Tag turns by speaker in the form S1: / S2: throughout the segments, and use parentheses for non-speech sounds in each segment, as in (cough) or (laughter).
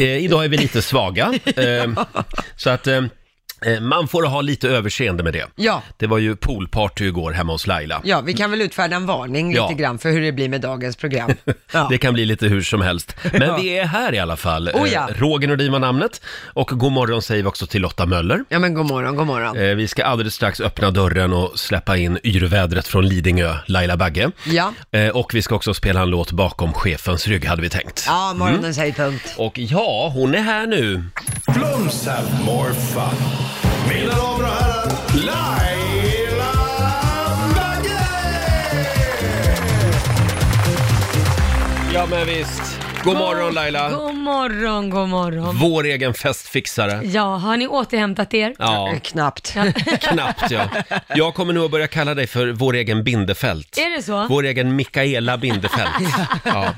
S1: Eh, idag är vi lite
S2: (laughs)
S1: svaga, eh, så att eh, eh, man får ha lite överseende med det.
S2: Ja.
S1: Det var ju poolparty igår hemma hos Laila.
S2: Ja, vi kan väl utfärda en varning
S1: Ja.
S2: lite grann för hur det blir med dagens program. Ja.
S1: (laughs) Det kan bli lite hur som helst. Men
S2: Ja.
S1: vi är här i alla fall.
S2: Oh ja.
S1: Eh, Roger Nordin var namnet. Och god morgon säger vi också till Lotta Möller.
S2: ja, men god morgon, god morgon.
S1: Eh, vi ska alldeles strax öppna dörren och släppa in yrvädret från Lidingö, Laila Bagge.
S2: Ja,
S1: Eh, och vi ska också spela en låt bakom chefens rygg, hade vi tänkt. Mm.
S2: ja morgonens höjdpunkt.
S1: Och ja, hon är här nu.
S3: Blooms have more fun. Mina damer och herrar, Laila Bagge!
S1: Ja, men visst. God morgon Laila.
S4: God morgon, god morgon.
S1: Vår egen festfixare.
S4: Ja, har ni återhämtat er?
S1: Ja,
S2: Knappt.
S1: knappt ja. Jag kommer nog att börja kalla dig för vår egen Bindefält.
S4: (laughs) Är det så?
S1: Vår egen Mikaela
S4: (laughs)
S1: Bindefält. Ja.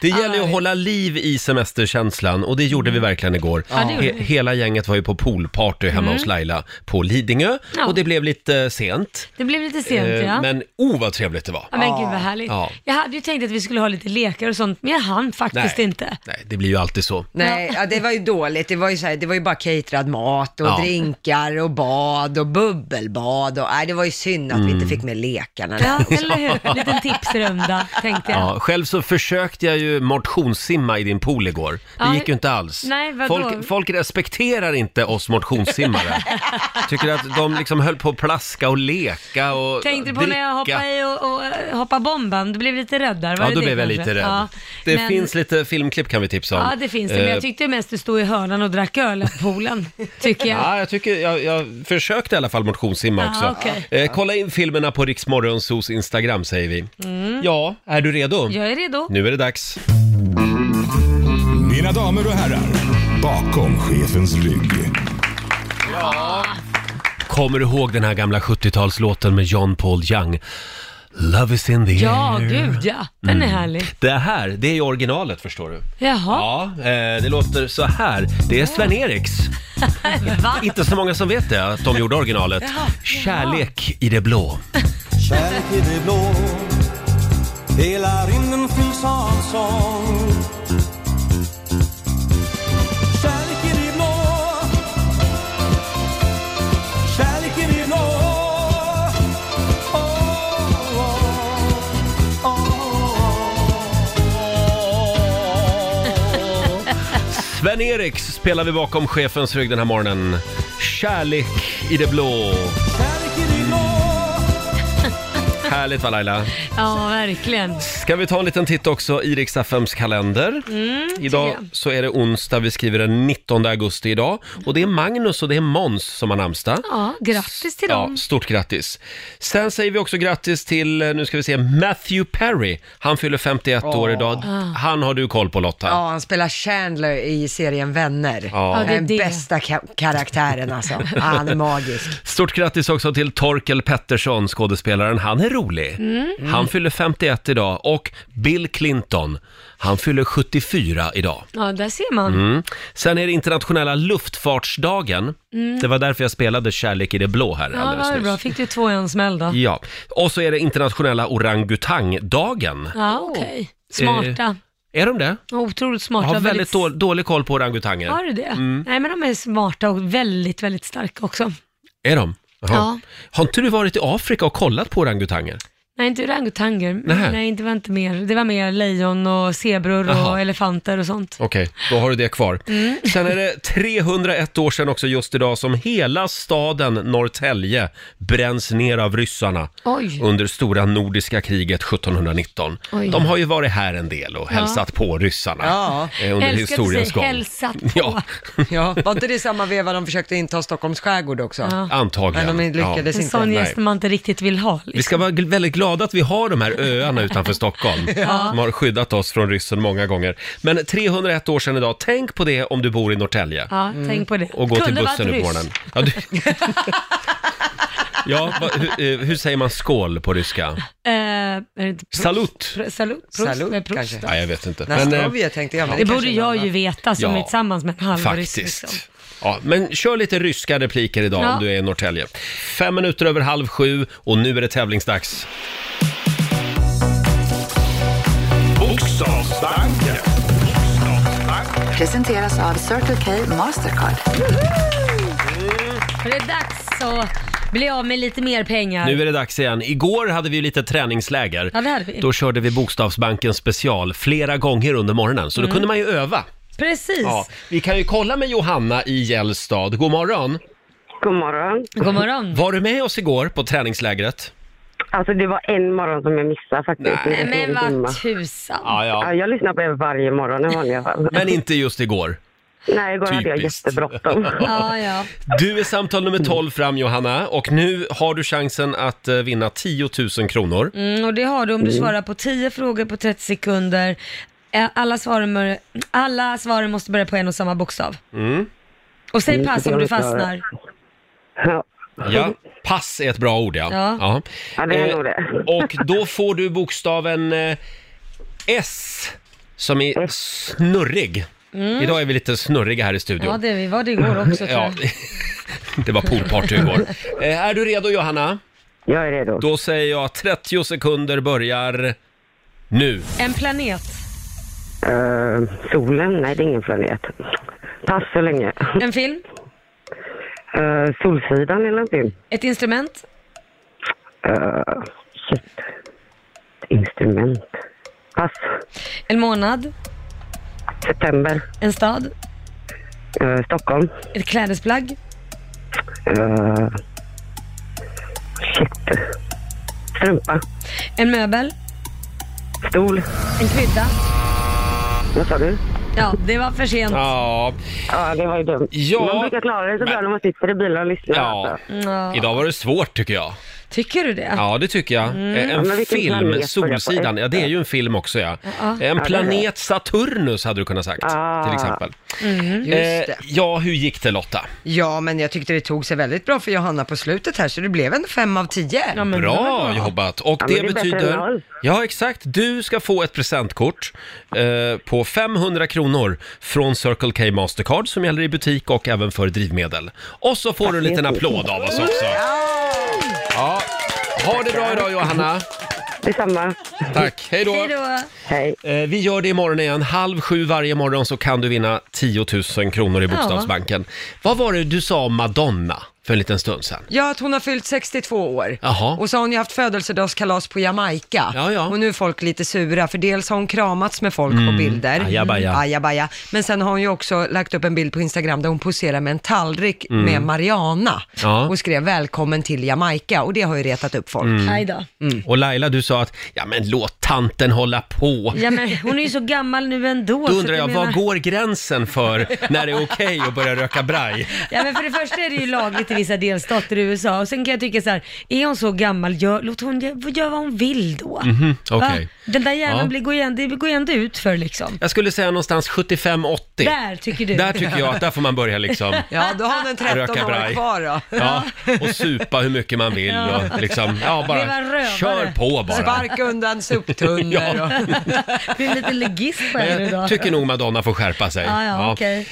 S1: Det gäller ju att hålla liv i semesterkänslan och det gjorde vi verkligen igår.
S4: Ja, det gjorde
S1: He-
S4: vi. Mm.
S1: hela gänget var ju på poolparty hemma hos Laila på Lidingö
S4: Ja.
S1: och det blev lite sent.
S4: Det blev lite sent
S1: Eh,
S4: ja. Men,
S1: Men oh vad trevligt det var.
S4: ja, men gud vad härligt.
S1: Ja.
S4: Jag hade ju tänkt att vi skulle ha lite lekar och sånt, men jag hann faktiskt inte.
S1: nej, det blir ju alltid så.
S2: Nej, ja, det var ju dåligt. Det var ju, så här, det var ju bara caterad mat och
S1: Ja.
S2: drinkar och bad och bubbelbad. Och, nej, det var ju synd att
S1: Mm.
S2: vi inte fick med lekarna.
S4: Ja,
S2: (laughs)
S4: eller hur? Liten tipsrunda, tänkte jag.
S1: Ja, själv så försökte jag ju motionssimma i din pool igår. Det
S4: Ja,
S1: gick ju inte alls.
S4: nej, vadå?
S1: folk, folk respekterar inte oss motionssimmare. Tycker att de liksom höll på att plaska och leka och
S4: (laughs) Tänkte du på
S1: dricka.
S4: när jag hoppade i och, och eh, hoppade bomben? Du blev lite rädd där, var
S1: Ja,
S4: det
S1: då
S4: det
S1: blev jag
S4: kanske?
S1: lite rädd.
S4: Ja,
S1: det
S4: men-
S1: finns lite filmklipp kan vi tipsa om.
S4: Ja, det finns det, men
S1: Eh,
S4: jag tyckte mest du stod i hörnan och drack öl i poolen, tycker jag.
S1: Ja, jag, tycker, jag, jag försökte i alla fall motionssimma
S4: Ja,
S1: också.
S4: okej.
S1: Eh, kolla in filmerna på Riksmorgonsos Instagram säger vi. Ja, är du redo?
S4: Mm. Jag är redo.
S1: Nu är det dags.
S3: Mina damer och herrar, bakom chefens rygg.
S1: Kommer du ihåg den här gamla 70-talslåten med John Paul Young? Love is in the
S4: Ja,
S1: air.
S4: gud ja. Den är härlig.
S1: Det här, det är ju originalet förstår du.
S4: Jaha,
S1: Ja, eh, det låter så här. Det är Sven-Eriks.
S4: va?
S1: Inte så många som vet det, att de gjorde originalet.
S4: Jaha.
S1: Kärlek i det blå.
S5: Kärlek i det blå Hela rymden fylls av sång Kärlek i det blå Kärlek i det blå oh, oh, oh, oh.
S1: Sven-Eriks spelar vi bakom chefens rygg den här morgonen. Kärlek i det blå.
S5: Kärlek i det blå
S1: Härligt va Laila?
S4: (laughs) Ja, verkligen.
S1: Ska vi ta en liten titt också i riks FMs kalender? idag
S4: Mm, jag.
S1: så är det onsdag, vi skriver den 19 augusti idag. Och det är Magnus och det är Måns som har namnsdag.
S4: Ja, grattis till
S1: Ja,
S4: dem.
S1: stort grattis. Sen säger vi också grattis till, eh, nu ska vi se, Matthew Perry. Han fyller 51 år idag.
S4: Ah.
S1: Han har du koll på Lotta.
S2: Ja, han spelar Chandler i serien Vänner.
S1: Ja.
S4: Ja, det är
S2: Den
S4: det.
S2: bästa ka- karaktären alltså. Ja, han är magisk.
S1: (laughs) Stort grattis också till Torkel Pettersson, skådespelaren. Han är rolig.
S4: Mm.
S2: Mm.
S1: Han fyller 51 idag. Och Bill Clinton, han fyller 74 idag.
S4: Ja, där ser man.
S1: Mm. Sen är det internationella luftfartsdagen. Det var därför jag spelade Kärlek i det blå här
S4: Mm. Ja,
S1: alldeles
S4: vad
S1: nyss.
S4: bra. Fick du två i en smäll då?
S1: Ja, och så är det internationella orangutangdagen.
S4: Ja, okej. Smarta.
S1: Är de det?
S4: Otroligt
S1: Eh, Jag
S4: smarta.
S1: har väldigt dålig, Mm. dålig koll på orangutanger.
S4: Har du det? Nej, men de är smarta och väldigt, väldigt starka också.
S1: Är de? Jaha.
S4: Ja.
S1: Har inte du varit i Afrika och kollat på orangutanger?
S4: Nej, inte orangutanger.
S1: Nähä.
S4: Nej, inte, var inte mer. Det var mer lejon och zebror
S1: Jaha.
S4: och elefanter och sånt.
S1: Okej, då har du det kvar.
S4: Mm.
S1: Sen är det 301 år sedan också just idag som hela staden Norrtälje bränns ner av ryssarna
S4: Oj.
S1: under stora nordiska kriget 1719.
S4: Oj.
S1: De har ju varit här en del och hälsat på ryssarna
S2: Ja.
S1: eh, under
S4: Älskar att
S1: historiens
S4: säga
S1: gång. (laughs)
S4: hälsat på.
S1: Ja,
S2: Ja, var inte det samma veva de försökte inta Stockholms skärgård också?
S4: Ja.
S1: antagligen.
S2: Men de
S1: Ja.
S2: lyckades
S4: En
S2: inte.
S4: sån
S1: Nej.
S4: gäst man inte riktigt vill ha.
S1: Vi
S4: Liksom.
S1: ska vara gl- väldigt glada att vi har de här öarna
S4: (laughs)
S1: utanför Stockholm. Som har skyddat oss från ryssen många gånger. Men 301 år sedan idag, tänk på det om du bor i Norrtälje.
S4: Ja, tänk på det.
S1: Och gå till
S4: Kunde
S1: bussen
S4: varit
S1: nu på
S4: ryss.
S1: morgonen. Ja, du...
S4: (laughs)
S1: ja va, hur, eh, hur säger man skål på ryska?
S4: Eh, är det inte prost?
S1: Salut!
S4: Pr- Salut? Prost?
S2: Salut,
S4: Nej, prost.
S2: kanske.
S1: Nej, jag vet inte. Men, eh,
S2: Nastrovje tänkte jag. men
S4: Det
S2: kanske
S4: borde
S2: är
S4: jag
S2: någon
S4: ju veta som
S1: Ja.
S4: är tillsammans med en halvryss.
S1: faktiskt.
S4: Liksom.
S1: Ja, men kör lite ryska repliker idag
S4: Ja.
S1: om du är i Norrtälje. Fem minuter över halv sju och nu är det tävlingsdags.
S3: Bokstavsbanken. Bokstavsbanken.
S6: presenteras av Circle K Mastercard.
S4: För det är dags att bli av med lite mer pengar.
S1: Nu är det dags igen. Igår hade vi ju lite träningsläger.
S4: Ja, det hade vi.
S1: Då körde vi Bokstavsbanken special flera gånger under morgonen, så då kunde man ju öva.
S4: Mm. Precis.
S1: Ja, vi kan ju kolla med Johanna i Gällstad. God morgon!
S7: God morgon.
S4: God morgon.
S1: Var du med oss igår på träningslägret?
S7: Alltså det var en morgon som jag missade faktiskt.
S1: Nej,
S7: Det är
S4: Men
S7: en timma.
S4: vad tusan.
S1: Ja,
S7: Ja, jag lyssnar på er varje morgon
S1: (laughs)
S7: i vanliga fall.
S1: Men inte just igår.
S7: Nej, igår hade jag
S1: typiskt.
S7: jättebråttom.
S4: Ja, ja.
S1: (laughs) Du är samtal nummer 12 fram Johanna och nu har du chansen att eh, vinna 10 000 kronor.
S4: Mm, och det har du om du svarar på 10 frågor på 30 sekunder. Eh, Alla svaren, mör- alla svaren måste börja på en och samma bokstav.
S1: Mm.
S4: Och säg
S2: Mm,
S4: pass om du fastnar.
S7: Ja,
S1: Ja, pass är ett bra ord ja.
S4: Ja.
S7: Ja, det är
S1: Eh,
S7: nog det.
S1: Och då får du bokstaven eh, S som är snurrig. Idag är vi lite snurriga här i studion.
S4: Mm. Ja, det vi var det igår
S1: (laughs)
S4: också tror
S1: Ja.
S4: jag.
S1: Det var poolparty igår. Eh, Är du redo Johanna?
S7: jag är redo.
S1: Då säger jag 30 sekunder börjar nu.
S4: En planet,
S7: Eh, solen? Nej, det är ingen planet. Pass så länge.
S4: en film,
S7: Eh, solsidan eller någonting.
S4: ett instrument,
S7: Eh, Shit. Instrument. Pass.
S4: en månad,
S7: September.
S4: en stad,
S7: Eh, Stockholm.
S4: ett klädesplagg,
S7: Eh, shit. Strumpa.
S4: en möbel,
S7: Stol.
S4: en krydda.
S7: Vad sa du?
S4: Ja, det var för sent.
S1: Ja,
S7: Ja, det var ju dumt.
S1: Ja.
S7: Man brukar klara det så bra när man sitter i bilen och lyssnar.
S1: ja.
S7: Alltså.
S4: Ja.
S1: Idag var det svårt tycker jag.
S4: Tycker du det?
S1: Ja, det tycker jag. Eh, En
S7: men vilken planet
S1: film,
S7: börjar på
S1: Solsidan,
S7: S?
S1: ja det är ju en film också ja. En planet Saturnus hade du kunnat sagt,
S7: Ah.
S1: till exempel.
S2: Mm. Just
S1: Eh,
S2: det.
S1: ja, hur gick det Lotta?
S2: Ja, men jag tyckte det tog sig väldigt bra för Johanna på slutet här, så det blev en fem av tio.
S4: men det var
S1: Bra jobbat! Och
S7: Ja, men
S1: det
S7: det är bättre än
S1: betyder...
S7: noll.
S1: Ja, exakt. Du ska få ett presentkort eh, på 500 kronor från Circle K Mastercard som gäller i butik och även för drivmedel. Och så får du en liten applåd av
S7: Mm.
S1: oss också. Ja. Ha det bra idag Johanna!
S7: Detsamma.
S1: Tack, hej då!
S4: Hej då.
S7: Hej.
S1: Eh, Vi gör det imorgon igen. Halv sju varje morgon så kan du vinna 10 000 kronor i Bokstavsbanken. Vad var det du sa om Madonna för en liten stund sedan?
S2: Ja, att hon har fyllt 62 år.
S1: Jaha.
S2: Och så har hon ju haft födelsedagskalas på Jamaica.
S1: Ja, ja.
S2: Och nu är folk lite sura, för dels har hon kramats med folk på bilder.
S1: Ajabaja.
S2: Mm, Ajabaja. Men sen har hon ju också lagt upp en bild på Instagram där hon poserar med en tallrik med Mariana.
S1: Mm. Ja. Mm.
S2: Och skrev välkommen till Jamaica. Och det har ju retat upp folk.
S4: Aj då.
S1: Och Laila, du sa att ja, men låt tanten hålla på.
S4: Ja, men hon är ju så gammal nu ändå.
S1: Då
S4: så
S1: undrar
S4: att
S1: jag, var går gränsen för när det är okej att börja röka braj?
S4: Ja men för det första är det ju lagligt i vissa delstater i USA och sen kan jag tycka så här, är hon så gammal, gör, låt hon göra gör vad hon vill då. Va?
S1: Mm, Mhm, okej.
S4: Den där hjärnan
S1: Ja.
S4: blir, går, ju ändå, det går ju ändå ut för liksom.
S1: Jag skulle säga någonstans 75-80.
S4: Där tycker du.
S1: Där tycker jag att där får man börja
S4: (laughs)
S1: liksom.
S2: (laughs) Ja, då har hon en 13
S1: Röka
S2: år
S1: braj.
S2: kvar då.
S1: Ja, och supa hur mycket man vill och liksom,
S4: (laughs)
S1: ja
S4: Leva
S1: bara
S4: rövare.
S1: kör på bara.
S2: Sparka undan soptunnor och...
S4: (laughs) Du är lite legist på
S1: Men
S4: henne
S1: jag
S4: idag.
S1: tycker nog Madonna får skärpa sig.
S4: Ja, ja, okej.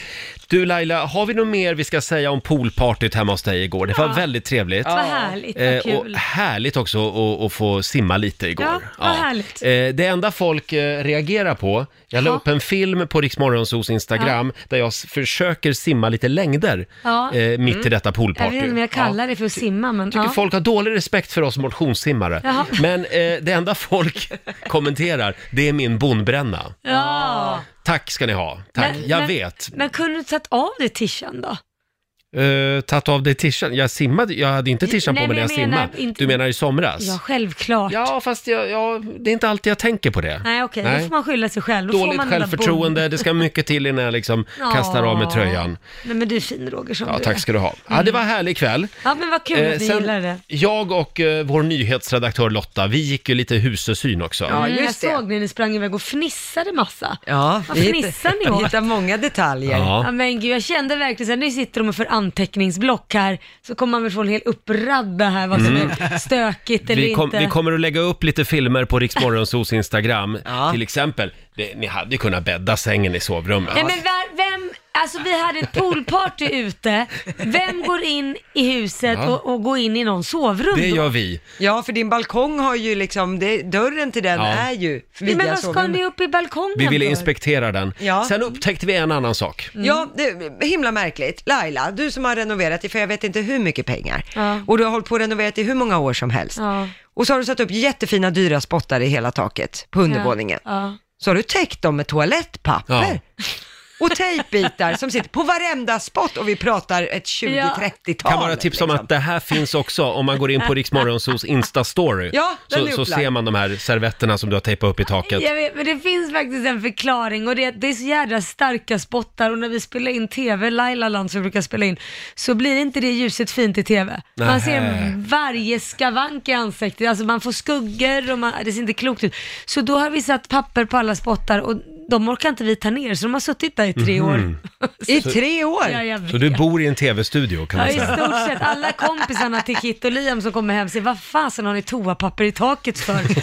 S1: Du Laila, har vi något mer vi ska säga om poolpartyt hemma hos dig igår? Det var väldigt trevligt.
S4: Vad härligt, vad
S1: Eh, och
S4: kul.
S1: härligt också att, att få simma lite igår.
S4: Ja, vad härligt.
S1: Eh, det enda folk eh, reagerar på, jag la
S4: Ja.
S1: upp en film på Riksmorgonsos Instagram där jag s- försöker simma lite längder
S4: Ja.
S1: eh, mitt i detta poolparty.
S4: Jag vet inte om jag kallar
S1: Ja.
S4: det för att simma men
S1: Jag
S4: ja.
S1: tycker folk har dålig respekt för oss motionssimmare.
S4: Jaha.
S1: Men eh, det enda
S4: (laughs)
S1: folk kommenterar, det är min bonbränna.
S4: ja.
S1: Tack ska ni ha. Tack.
S4: Men-
S1: jag
S4: men-
S1: vet.
S4: Men kunde du tagit av dig tishan då?
S1: Uh, tagit av dig tishan? Jag simmade, jag hade inte tishan
S4: Nej,
S1: på mig när
S4: men
S1: jag
S4: jag menar
S1: simmade.
S4: inte-
S1: Du menar i somras?
S4: Ja, självklart.
S1: Alltså. Ja, fast jag, jag, det är inte alltid jag tänker på det.
S4: Nej okej, då får man skylla sig själv. Då får
S1: Dåligt
S4: man den där
S1: självförtroende, det ska mycket till innan jag liksom
S4: bomben.
S1: kastar av mig
S4: (laughs) Ja.
S1: tröjan.
S4: Nej men du är fin Roger som
S1: Ja,
S4: du
S1: tack
S4: är.
S1: ska du ha. Ja, det var en härlig kväll.
S4: Ja men vad kul
S1: Eh,
S4: att ni
S1: sen-
S4: gillar det.
S1: jag och eh, vår nyhetsredaktör Lotta, vi gick ju lite husesyn också.
S2: Ja,
S4: Mm,
S2: just
S4: jag
S2: det.
S4: såg när ni sprang iväg och fnissade massa.
S2: Ja,
S4: Vad
S2: vi
S4: fnissar ni
S2: (laughs) hittar,
S4: åt?
S2: vi hittar många detaljer.
S1: Ja.
S4: Ja, men gud, jag kände verkligen så här, nu sitter de och för anteckningsblock här, så kommer man väl få en hel uppradda här vad som är stökigt eller
S1: Mm. Vi, kom,
S4: inte.
S1: vi kommer att lägga upp lite filmer på Riksmorgonsos
S4: (laughs)
S1: Instagram.
S2: Ja.
S1: Till exempel, det, ni hade ju kunnat bädda sängen i sovrummet.
S4: Nej men var, vem Alltså vi hade ett poolparty ute. Vem går in i huset
S1: Ja.
S4: och, och går in i någon sovrum
S1: Det
S4: då?
S1: gör vi.
S2: Ja, för din balkong har ju liksom, det, dörren till den
S1: Ja.
S2: är ju
S4: Nej,
S2: via
S4: Men vad ska
S2: sovrummet.
S4: ni upp i balkongen
S1: Vi ville
S4: för?
S1: inspektera den.
S2: Ja.
S1: Sen upptäckte vi en annan sak.
S4: Mm.
S2: Ja, det är himla märkligt. Laila, du som har renoverat i för jag vet inte hur mycket pengar.
S4: Ja.
S2: Och du har hållit på och renoverat i hur många år som helst.
S4: Ja.
S2: Och så har du satt upp jättefina dyra spottar i hela taket på undervåningen.
S4: Ja.
S2: Så har du täckt dem med toalettpapper. Och tejpbitar som sitter på varenda spott och vi pratar ett 20-30-tal.
S1: Kan bara tipsa om
S2: liksom.
S1: att det här finns också om man går in på
S4: (laughs)
S1: Riksmorgonsos Insta-story.
S2: Ja, den
S1: så,
S2: är
S1: så
S2: upplagd.
S1: ser man de här servetterna som du har tejpat upp i taket.
S4: Jag vet, men det finns faktiskt en förklaring och det, är att det är så jädra starka spottar och när vi spelar in TV, Laila Land som vi brukar spela in, så blir inte det ljuset fint i TV. Man
S1: Nähä.
S4: ser varje skavank i ansiktet, alltså man får skuggor och man, det ser inte klokt ut. Så då har vi satt papper på alla spottar och de orkar inte vi ta ner så de har suttit där i tre
S1: Mhm.
S4: år.
S2: I tre år?
S4: Ja, jag vet.
S1: Så du bor i en tv-studio kan
S4: Ja,
S1: man
S4: i
S1: säga.
S4: stort sett. Alla kompisarna till Kit och Liam som kommer hem säger, vad fasen har ni toapapper i
S1: (laughs)
S4: taket för? Jag orkar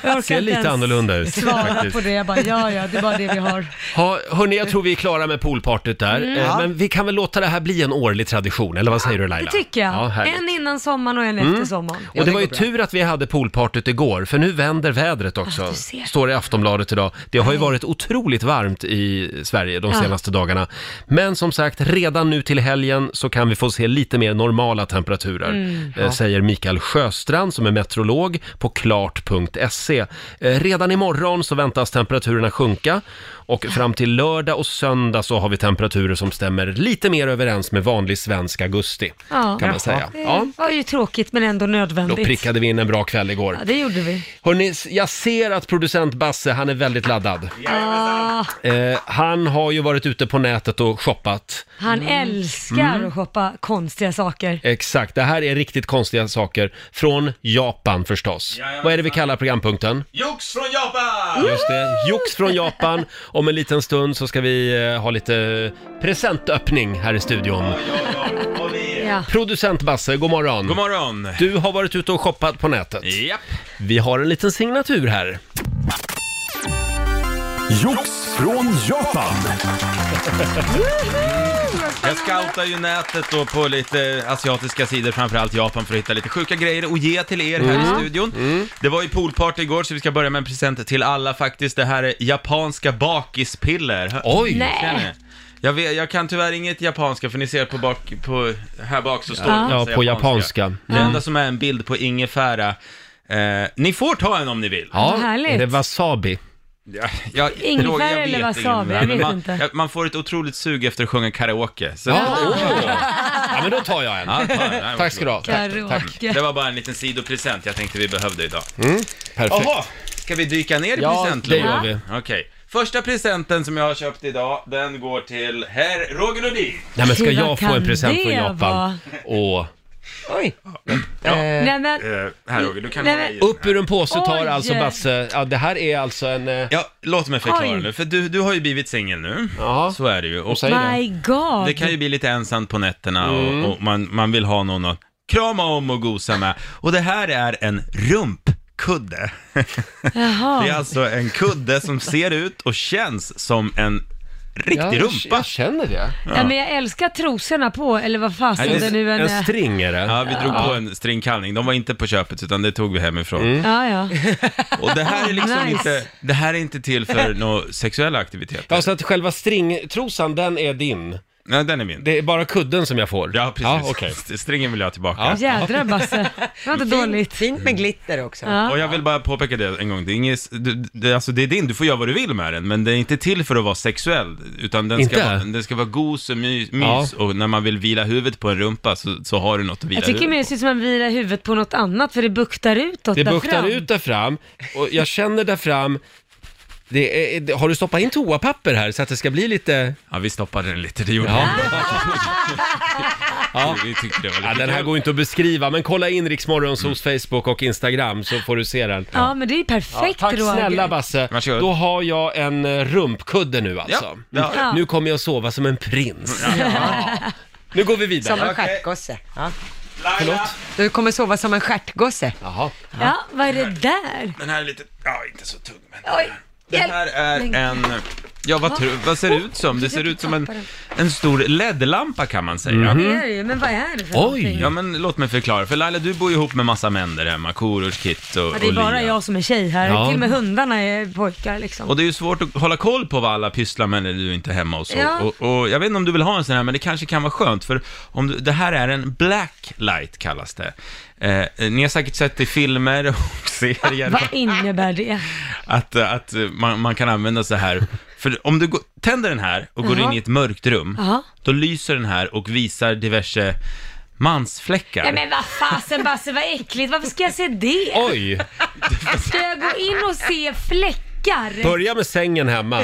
S1: Ser
S4: inte ens
S1: lite annorlunda ut
S4: Svara
S1: faktiskt.
S4: på det, jag bara, ja ja, det är bara det vi har.
S1: Ha, hörni, jag tror vi är klara med poolpartyt där.
S4: Mm.
S1: Eh, Men vi kan väl låta det här bli en årlig tradition, eller vad säger du Laila?
S4: Det tycker jag.
S1: Ja, härligt. Mm.
S4: en innan sommaren och en efter sommaren.
S1: Och det var ju tur att vi hade poolpartyt igår, för nu vänder vädret också.
S4: du ser.
S1: Står det i Aftonbladet idag. Det har ju varit otroligt varmt i Sverige de
S4: Ja.
S1: senaste dagarna. Men som sagt, redan nu till helgen så kan vi få se lite mer normala temperaturer,
S4: Mm,
S1: eh, säger Mikael Sjöstrand som är meteorolog på klart.se. Eh, Redan imorgon så väntas temperaturerna sjunka och fram till lördag och söndag så har vi temperaturer som stämmer lite mer överens med vanlig svensk augusti,
S4: Ja.
S1: kan man säga.
S4: Det
S1: Ja.
S4: var ju tråkigt men ändå
S1: Då
S4: nödvändigt.
S1: prickade vi in en bra kväll igår.
S4: Ja, det gjorde vi.
S1: Hörrni, jag ser att producent Basse, han är väldigt laddad.
S4: Ah,
S1: Eh, han har ju varit ute på nätet och shoppat.
S4: Ah, han
S1: Mm.
S4: älskar att shoppa konstiga saker.
S1: Exakt, det här är riktigt konstiga saker. Från Japan förstås.
S3: Jajamensan.
S1: Vad är det vi kallar programpunkten?
S3: Jox från Japan!
S1: Just det, jox från Japan. Om en liten stund så ska vi eh, ha lite presentöppning här i studion.
S3: Och vi-
S4: Ja.
S1: Producent Basse, god morgon.
S3: God morgon!
S1: Du har varit ute och shoppat på nätet.
S3: Japp.
S1: Vi har en liten signatur här.
S8: Jox från Japan.
S3: Jag scoutar ju nätet då på lite asiatiska sidor, framförallt Japan, för att hitta lite sjuka grejer och ge till er här
S1: Mm.
S3: i studion. Det var ju poolparty igår, så vi ska börja med en present till alla faktiskt. Det här är japanska bakispiller. Hör-
S1: Oj!
S4: Nej.
S3: Känner ni? Jag, vet, jag kan tyvärr inget japanska, för ni ser på bak, på, här bak så står det
S1: Ja,
S3: massa
S1: på japanska.
S3: Det enda som är en bild på ingefära. Eh, ni får ta en om ni vill.
S1: Ja,
S4: Vad härligt.
S1: är det wasabi?
S3: Ja, jag,
S4: Ingefära
S3: Roger, jag
S4: eller
S3: vet
S4: wasabi?
S3: inte.
S4: Jag vet
S3: man,
S4: inte.
S3: ja, Man får ett otroligt sug efter att sjunga karaoke. Så
S1: Ja, åh.
S4: Ah.
S1: ja, men då tar jag en.
S3: Ja, ta den. Nej,
S1: Tack ska du ha. Tack, tack.
S4: Karaoke.
S3: Det var bara en liten sidopresent jag tänkte vi behövde idag.
S1: Perfekt.
S3: Ska vi dyka ner i
S1: Ja, det
S3: presentlådan?
S1: gör vi.
S3: Okej. Första presenten som jag har köpt idag, den går till herr Roger Nordin.
S1: Nej, men ska
S4: Gud, vad
S1: jag få en
S4: kan
S1: present från
S4: det
S1: Japan?
S4: vara?
S1: Åh.
S2: Oj.
S4: Nej men,
S3: Eh, här Roger, du kan
S4: Nej,
S3: hålla
S4: men-
S3: i den.
S1: Upp ur en påse tar
S4: Oj.
S1: alltså Basse, ja det här är alltså en... eh,
S3: Ja, låt mig förklara
S4: Oj.
S3: nu, för du, du har ju blivit singel nu.
S1: Ja.
S3: Så är det ju. Och
S1: säger det.
S4: my god.
S3: det kan ju bli lite ensamt på nätterna
S4: Mm.
S3: och, och man, man vill ha någon att krama om och gosa med. Och det här är en rumpkudde.
S4: Jaha.
S3: (laughs) Det är alltså en kudde som ser ut och känns som en riktig
S1: Ja, jag,
S3: rumpa.
S1: jag känner det.
S4: Nej, men jag älskar trosorna på, eller vad fasen
S3: Nej, det-
S4: det nu eh, än
S1: En
S4: är.
S1: string är det.
S3: Ja, vi drog på en stringkallning. De var inte på köpet, utan det tog vi hemifrån.
S1: Mm.
S4: Ja, ja.
S3: Och det här är liksom
S4: (laughs) Nice.
S3: inte, det här är inte till
S4: (laughs)
S3: för några sexuella aktiviteter.
S1: Ja, så att själva stringtrosan, den är din.
S3: Nej, den är min.
S1: Det är bara kudden som jag får.
S3: Ja, precis.
S1: Ja, okej.
S3: St- (laughs) Stringen vill jag ha tillbaka.
S4: Jädrar Basse. Det var inte
S2: Fint,
S4: dåligt.
S2: fint med glitter också.
S3: Och jag vill bara påpeka det en gång, det är, inget, du, det, alltså det är din, du får göra vad du vill med den, men det är inte till för att vara sexuell, utan den, ska
S1: Inte?
S3: vara, den ska vara gos och my, mys, och när man vill vila huvudet på en rumpa så, så har du något att vila
S4: Jag tycker mer det
S3: huvudet
S4: ser ut som att man virar huvudet på något annat för det buktar utåt
S1: Det
S4: där
S1: buktar
S4: fram.
S1: ut där fram och jag känner där fram det är, det- har du stoppat in toapapper här så att det ska bli lite...
S3: på. Ja, vi stoppade den lite, det gjorde
S1: Ja.
S3: vi. Vi tyckte det var lite
S1: Ja, den här
S3: kul. Mm.
S1: går inte att beskriva, men kolla in Riksmorgons hos Facebook och Instagram så får du se den.
S4: Ja, men det är ju perfekt
S1: Tack
S4: Roger.
S1: snälla Basse.
S3: Varsågod.
S1: Då har jag en eh, rumpkudde nu alltså.
S3: Ja, ja.
S4: Ja.
S1: Nu kommer jag sova som en prins.
S2: (laughs)
S1: Ja. Nu går vi
S2: Som
S1: vidare.
S2: en stjärtgosse. Ja.
S3: Laila,
S2: Du kommer sova som en stjärtgosse.
S1: Jaha.
S4: Ja, vad är det där?
S3: den här är lite, ja inte så tung men.
S4: Oj,
S3: Det
S4: hjälp.
S3: här är en Ja, vad, tr- vad ser det ut som? Det ser ut som en, en stor LED-lampa kan man säga.
S4: Det är det ju, men vad är det för
S1: Mhm. Oj.
S4: någonting?
S3: Ja, men låt mig förklara. För Laila, du bor ju ihop med massa män där hemma. Korosh, Kit och,
S4: Ja,
S3: och
S4: det är bara
S3: Lia.
S4: jag som är tjej här,
S1: Ja.
S4: till och med hundarna är pojkar liksom.
S3: Och det är ju svårt att hålla koll på vad alla pysslar med när du inte är hemma och så.
S4: Ja.
S3: Och, och jag vet inte om du vill ha en sån här, men det kanske kan vara skönt, för om du, det här är en blacklight kallas det. Eh, ni har säkert sett det i filmer och (laughs) serier,
S4: Vad innebär det?
S3: att, eh, att eh, man, man kan använda så här. För om du går, tänder den här och går
S4: Jaha.
S3: in i ett mörkt rum,
S4: Jaha.
S3: då lyser den här och visar diverse mansfläckar.
S4: Nej men vad fasen Basse, vad äckligt. Varför ska jag se det?
S1: Oj!
S4: Ska jag gå in och se fläckar?
S1: Börja med sängen hemma.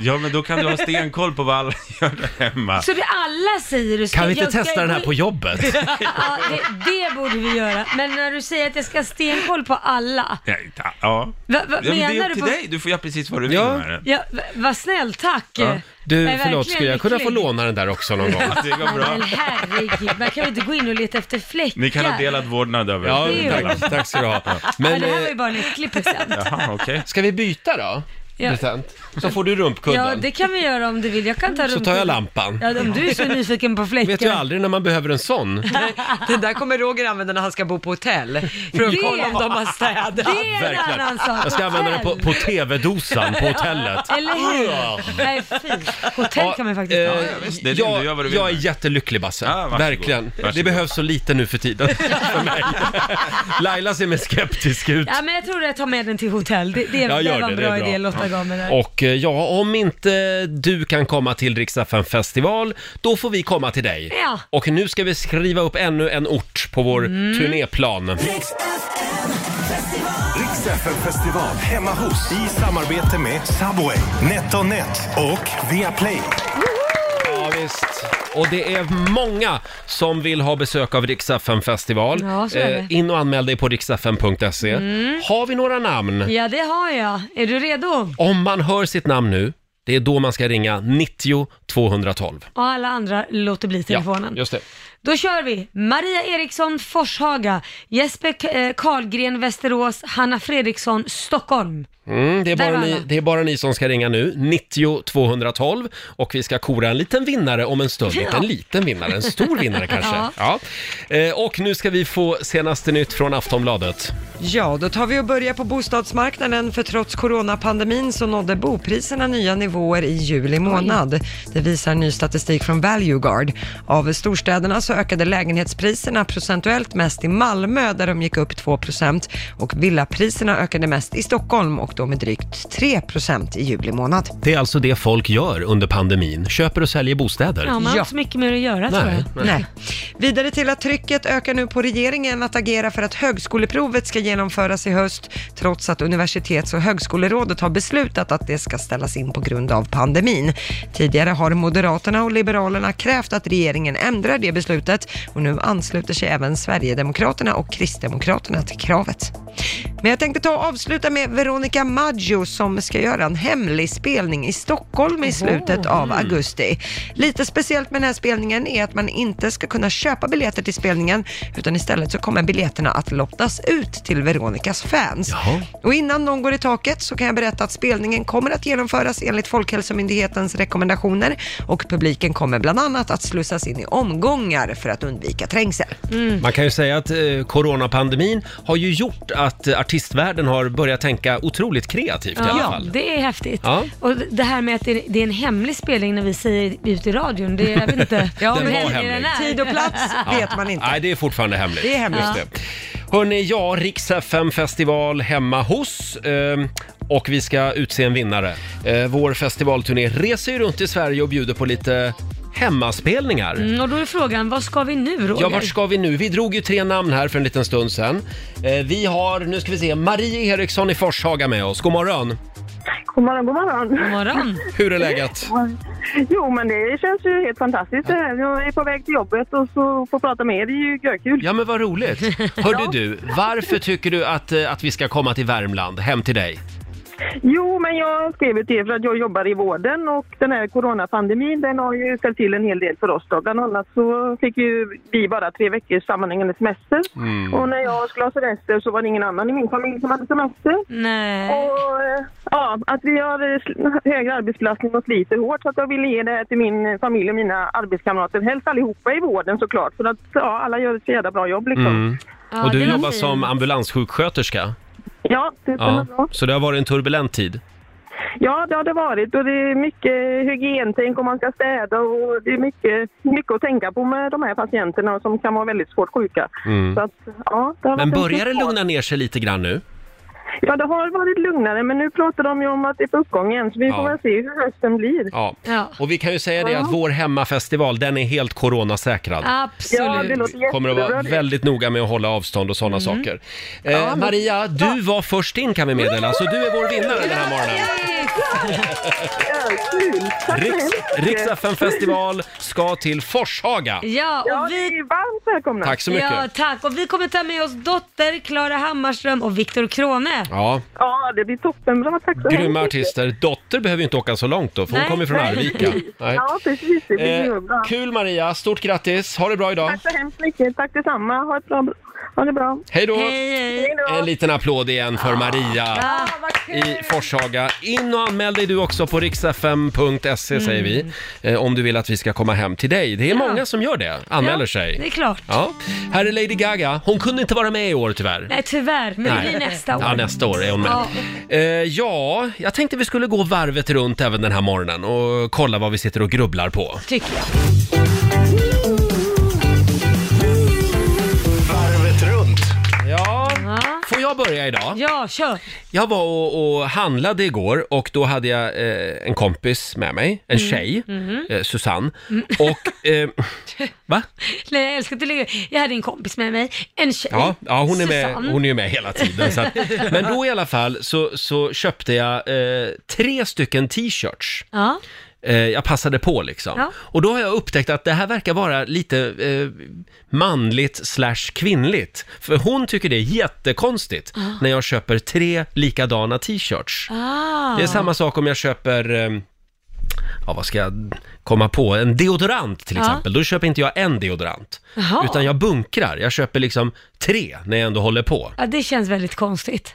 S3: Ja, men då kan du ha stenkoll på vad alla gör där hemma.
S4: Så det alla säger du ska,
S1: Kan vi inte
S4: jag ska
S1: testa den här
S4: gå
S1: på
S4: in-
S1: jobbet?
S4: (laughs) Ja, det, det borde vi göra. Men när du säger att jag ska ha stenkoll på alla.
S3: Ja, inte- ja.
S4: Va, va,
S3: Ja, men
S4: menar
S3: det är upp
S4: du
S3: till
S4: på...
S3: dig, du får göra precis vad du vill
S1: Ja.
S3: med den.
S4: Ja, va- vad snäll, tack.
S1: Ja. Du,
S4: Jag är
S1: förlåt,
S4: verkligen
S1: skulle jag kunna få
S4: lycklig.
S1: låna den där också någon gång?
S3: Det går bra.
S4: Men herregud, man kan väl inte gå in och leta efter fläckar?
S3: Ni kan ha delat vårdnad över
S1: Ja,
S4: Det är
S1: tack, tack ska du ha.
S4: Men,
S1: Men
S4: det här var
S1: eh,
S4: ju bara en äcklig present.
S3: Jaha, okej.
S1: ska vi byta då?
S4: Ja.
S1: Present? Så får du
S4: Ja,
S1: rumpkudden.
S4: det kan vi göra om du vill. Jag kan ta
S1: Så tar jag lampan.
S4: Ja, om du är så nyfiken på fläckar.
S1: Vet ju aldrig när man behöver en sån.
S2: Den där kommer Roger använda när han ska bo på hotell. För att
S4: Det-
S2: kolla om de har städat.
S4: Det är en
S1: Verkligen.
S4: annan sak.
S1: Jag ska använda den på, på tv-dosan på hotellet.
S4: Eller hur? Nej, fint. Hotell kan man faktiskt
S1: Ja,
S4: ha.
S1: eh,
S3: ja, visst, det är din,
S1: jag,
S3: du gör vad du vill
S1: jag är
S3: med.
S1: jättelycklig Basse,
S3: Ja, varsågod.
S1: verkligen. Det
S3: Varsågod.
S1: behövs så lite nu
S3: (laughs)
S1: för tiden för mig. Laila ser mer skeptisk ut.
S4: Ja, men jag tror att jag tar med den till hotell. Det, det,
S1: Ja,
S4: det
S1: gör
S4: var en
S1: det,
S4: bra,
S1: det är bra.
S4: idé Lotta gav mig där.
S1: Och eh, ja, om inte du kan komma till Riksdagen festival, då får vi komma till dig.
S4: Ja. Mm.
S1: Och nu ska vi skriva upp ännu en ort på vår turnéplan.
S8: Rix FM festival hemma hos i samarbete med Subway, NetOnNet och Viaplay.
S1: Ja, visst. Och det är många som vill ha besök av Riksdagen festival.
S4: Ja, så är det. Mm.
S1: Eh, In och anmäl dig på riksdagen.se. Har vi några namn?
S4: Ja, det har jag. Är du redo?
S1: Om man hör sitt namn nu, det är då man ska ringa 90 212.
S4: Och alla andra låter bli telefonen.
S1: Ja, just det.
S4: Då kör vi! Maria Eriksson, Forshaga. Jesper K- eh, Karlgren, Västerås. Hanna Fredriksson, Stockholm.
S1: Mm, det, är
S4: Där
S1: bara
S4: var
S1: ni,
S4: alla.
S1: det är bara ni som ska ringa nu, 90 212. Och vi ska kora en liten vinnare om en stund. Inte en liten vinnare, en stor
S4: (laughs)
S1: vinnare kanske. Ja. Eh, och nu ska vi få senaste nytt från Aftonbladet.
S2: Ja, då tar vi och börjar på bostadsmarknaden för trots coronapandemin så nådde bopriserna nya nivåer i juli månad. Det visar ny statistik från Valueguard. Av storstäderna så ökade lägenhetspriserna procentuellt mest i Malmö där de gick upp 2 och villapriserna ökade mest i Stockholm och då med drygt 3 i juli månad.
S1: Det är alltså det folk gör under pandemin, köper och säljer bostäder.
S4: Ja, man har
S2: Ja.
S4: inte så mycket mer att göra tror
S1: Nej.
S4: jag.
S2: Nej. Vidare till att trycket ökar nu på regeringen att agera för att högskoleprovet ska genomföras i höst, trots att Universitets och högskolerådet har beslutat att det ska ställas in på grund av pandemin. Tidigare har Moderaterna och Liberalerna krävt att regeringen ändrar det beslutet och nu ansluter sig även Sverigedemokraterna och Kristdemokraterna till kravet. Men jag tänkte ta och avsluta med Veronica Maggio som ska göra en hemlig spelning i Stockholm i slutet av augusti. Lite speciellt med den här spelningen är att man inte ska kunna köpa biljetter till spelningen utan istället så kommer biljetterna att lottas ut till Veronicas fans.
S1: Jaha.
S2: Och innan någon går i taket så kan jag berätta att spelningen kommer att genomföras enligt Folkhälsomyndighetens rekommendationer och publiken kommer bland annat att slussas in i omgångar för att undvika trängsel.
S4: Mm.
S1: Man kan ju säga att eh, coronapandemin har ju gjort att eh, artistvärlden har börjat tänka otroligt kreativt i alla
S4: Ja,
S1: fall.
S4: det är häftigt.
S1: Ja.
S4: Och det här med att det det är en hemlig spelning när vi säger ut i radion, det jag
S1: (laughs)
S4: vet inte
S2: Ja,
S1: Den
S2: men
S1: var
S2: tid-
S1: hemlig.
S2: Tid och plats vet man inte.
S1: Nej, det är fortfarande hemligt.
S2: Det är hemligt.
S1: Just det. Hörrni, ja, Rix FM festival hemma hos. ehm, Och vi ska utse en vinnare. Eh, Vår festivalturné reser ju runt i Sverige och bjuder på lite hemmaspelningar.
S4: Mm, och då är frågan, vad ska vi nu Roger?
S1: Ja, vart ska vi nu? Vi drog ju tre namn här för en liten stund sedan. Eh, Vi har, nu ska vi se, Marie Eriksson i Forshaga med oss. God morgon!
S9: God morgon, god morgon.
S4: God morgon.
S1: Hur är läget?
S9: Jo, men det känns ju helt fantastiskt det här. Jag är på väg till jobbet och så får prata med er. Det är ju görkul.
S1: Ja men vad
S2: (laughs)
S1: roligt! Hörde du, varför tycker du att, eh, att vi ska komma till Värmland, hem till dig?
S5: Jo, men jag skrev ju till er för att jag jobbar i vården och den här coronapandemin den har ju ställt till en hel del för oss. Då. Bland annat så fick ju vi bara tre veckors sammanhängande semester
S1: Mm.
S5: och när jag skulle ha semester så var det ingen annan i min familj som hade semester.
S4: Nej.
S5: Och eh, ja, att vi har eh, sl- högre arbetsbelastning och sliter hårt så att jag ville ge det här till min eh, familj och mina arbetskamrater. Helst allihopa i vården såklart för att ja, alla gör ett så jävla bra jobb liksom.
S4: Ja,
S1: Mm. och
S4: det
S1: du
S4: var
S1: jobbar
S4: fint.
S1: som ambulanssjuksköterska.
S5: Ja, det stämmer
S1: Ja.
S5: bra.
S1: Så det har varit en turbulent tid.
S5: Ja, det har det varit och det är mycket hygientänk och man ska städa och det är mycket, mycket att tänka på med de här patienterna som kan vara väldigt svårt sjuka. Så att, ja, det har
S1: Mm. Men
S5: varit en
S1: börjar det
S5: tuff fas.
S1: lugna ner sig lite grann nu?
S5: Ja, det har varit lugnare men nu pratar de ju om att det är på uppgång igen så vi
S1: Ja.
S5: får väl se hur hösten blir.
S1: Ja.
S4: Ja.
S1: Och vi kan ju säga det att vår hemmafestival, den är helt coronasäkrad.
S5: Ja, det
S4: Absolut. Mm.
S5: låter jättebra.
S1: Kommer att vara
S5: det.
S1: väldigt noga med att hålla avstånd och sådana saker. Eh, Maria, du var först in kan vi meddela, så du är vår vinnare den här morgonen.
S4: Grattis!
S5: Ja, kul. Tack så
S1: Riks,
S5: hemskt mycket.
S1: Riks festival ska till Forshaga.
S4: Ja,
S5: Ja,
S4: och
S5: ni
S4: vi...
S5: är varmt välkomna.
S1: Tack så mycket.
S4: Ja, tack. Och vi kommer ta med oss Dotter, Klara Hammarström och Viktor Krone.
S1: Ja,
S5: Ja, det blir toppenbra. Tack så
S1: grymma
S5: hemskt mycket.
S1: artister. Dotter behöver ju inte åka så långt då, för hon
S4: Nej,
S1: kommer från
S4: nej. (laughs)
S1: Arvika. Nej.
S5: Ja, precis. Det blir
S1: Eh,
S5: grymma.
S1: kul Maria, stort grattis. Ha det bra idag.
S5: Tack så hemskt mycket. Tack detsamma. Ha, ett bra, ha det bra.
S1: Hej då!
S4: Hej, hej. Ah.
S5: Hej då.
S1: En liten applåd igen för Maria
S4: Ja.
S1: i Forshaga. In och anmäl dig du också på riksfm.se
S4: Mm.
S1: säger vi. eh, Om du vill att vi ska komma hem till dig. Det är många som gör det, anmäler
S4: Ja, Det är
S1: sig.
S4: klart.
S1: Ja. Här är Lady Gaga. Hon kunde inte vara med i år tyvärr.
S4: Nej, tyvärr. Men det blir nästa år.
S1: Ja, nästa år är hon med.
S4: Ja.
S1: Eh, ja, jag tänkte vi skulle gå varvet runt även den här morgonen och kolla vad vi sitter och grubblar på.
S4: Tycker jag.
S10: Varvet runt.
S1: Ja,
S4: Ja.
S1: får jag börja idag?
S4: ja, kör.
S1: Jag var och, och handlade igår och då hade jag eh, en kompis med mig, en
S4: Mm.
S1: tjej,
S4: Mm-hmm.
S1: eh, Susanne. Och,
S4: (laughs)
S1: eh, va?
S4: Nej, jag älskar att du lägger... Jag hade en kompis med mig, en tjej.
S1: Ja, ja hon, är med,
S4: Susanne.
S1: hon är ju med hela tiden.
S4: (laughs)
S1: Så att, men då i alla fall så, så köpte jag eh, tre stycken t-shirts.
S4: Ja.
S1: Eh, jag passade på liksom.
S4: Ja.
S1: Och då har jag upptäckt att det här verkar vara lite eh, manligt slash kvinnligt. För hon tycker det är jättekonstigt när jag köper tre likadana t-shirts.
S4: Ah.
S1: Det är samma sak om jag köper, eh, ja vad ska jag komma på, en deodorant till
S4: Ja.
S1: exempel. Då köper inte jag en deodorant.
S4: Jaha.
S1: Utan jag bunkrar, jag köper liksom tre när jag ändå håller på.
S4: Ja, det känns väldigt konstigt.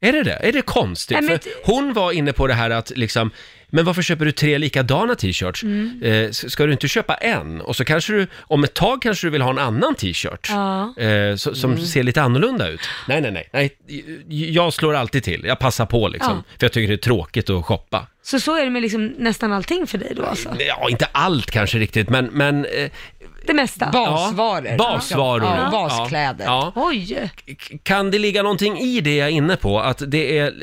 S1: Är det det? Är det konstigt?
S4: Nej, men-
S1: För hon var inne på det här att liksom, men varför köper du tre likadana t-shirts?
S4: Mm.
S1: Eh, s- ska du inte köpa en? Och så kanske du, om ett tag kanske du vill ha en annan t-shirt.
S4: Ja. Mm.
S1: Eh, så, som ser lite annorlunda ut. Nej, nej, nej, nej. Jag slår alltid till. Jag passar på liksom.
S4: Ja.
S1: För jag tycker det är tråkigt att shoppa.
S4: Så så är det med liksom nästan allting för dig då alltså?
S1: Ja, inte allt kanske riktigt, men... men eh,
S4: Det mesta?
S1: Ja,
S2: Basvaror.
S1: basvaror.
S2: Ja, baskläder.
S1: Ja, ja.
S4: Oj!
S1: K- Kan det ligga någonting i det jag är inne på? Att det är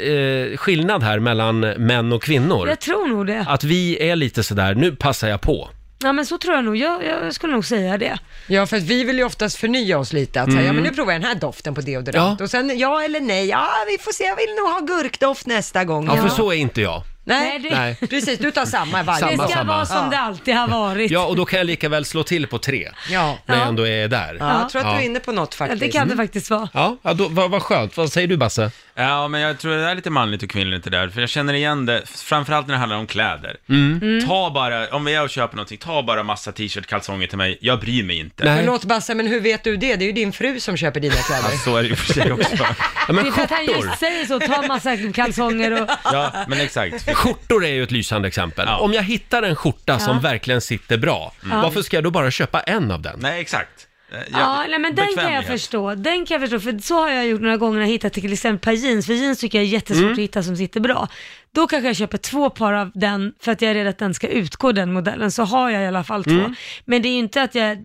S1: eh, skillnad här mellan män och kvinnor?
S4: Jag tror nog det.
S1: Att vi är lite sådär, nu passar jag på.
S4: Ja men så tror jag nog. Jag, jag skulle nog säga det.
S2: Ja, för att vi vill ju oftast förnya oss lite. Att säga, ja, men
S1: Mm.
S2: nu provar jag den här doften på deodorant.
S1: Ja.
S2: Och sen ja eller nej, ja vi får se, jag vill nog ha gurkdoft nästa gång.
S1: Ja, för så är inte jag.
S2: Nej,
S4: Nej,
S1: Nej.
S2: precis, du tar samma varje
S4: Det
S1: Samma,
S4: ska
S2: gång.
S1: samma.
S4: vara som
S2: Ja.
S4: det alltid har varit.
S1: Ja, och då kan jag lika väl slå till på tre.
S2: Ja.
S1: När jag
S4: Ja.
S1: ändå är där.
S2: Ja, jag tror att
S1: Ja.
S2: du är inne på något
S4: Ja,
S2: faktiskt.
S4: det kan det faktiskt vara.
S1: Ja, ja då, vad, vad skönt. Vad säger du Basse?
S3: Ja, men jag tror det är lite manligt och kvinnligt det där, för jag känner igen det, framförallt när det handlar om kläder.
S1: Mm.
S4: Mm.
S3: Ta bara, om vi är och köper någonting, ta bara massa t-shirt, kalsonger till mig, jag bryr mig inte.
S1: Nej.
S2: Förlåt Basse, men hur vet du det? Det är ju din fru som köper dina kläder.
S3: Alltså, så är det ju för sig också.
S1: (laughs) Ja,
S4: Det är
S1: men
S4: för att han
S1: skjortor.
S4: just säger så, ta massa kalsonger och...
S3: Ja, men exakt.
S1: Skjortor är ju ett lysande exempel.
S3: Ja.
S1: Om jag hittar en skjorta som verkligen sitter bra, varför ska jag då bara köpa en av den?
S3: Nej, exakt. Eh,
S4: Ja, nej, men den kan jag
S3: bekvämlighet.
S4: förstå. Den kan jag förstå, för så har jag gjort några gånger när jag hittat till exempel ett par jeans, för jeans tycker jag är jättesvårt
S1: Mm.
S4: att hitta som sitter bra. Då kanske jag köper två par av den för att jag är rädd att den ska utgå, den modellen, så har jag i alla fall två.
S1: Mm.
S4: Men det är ju inte att jag,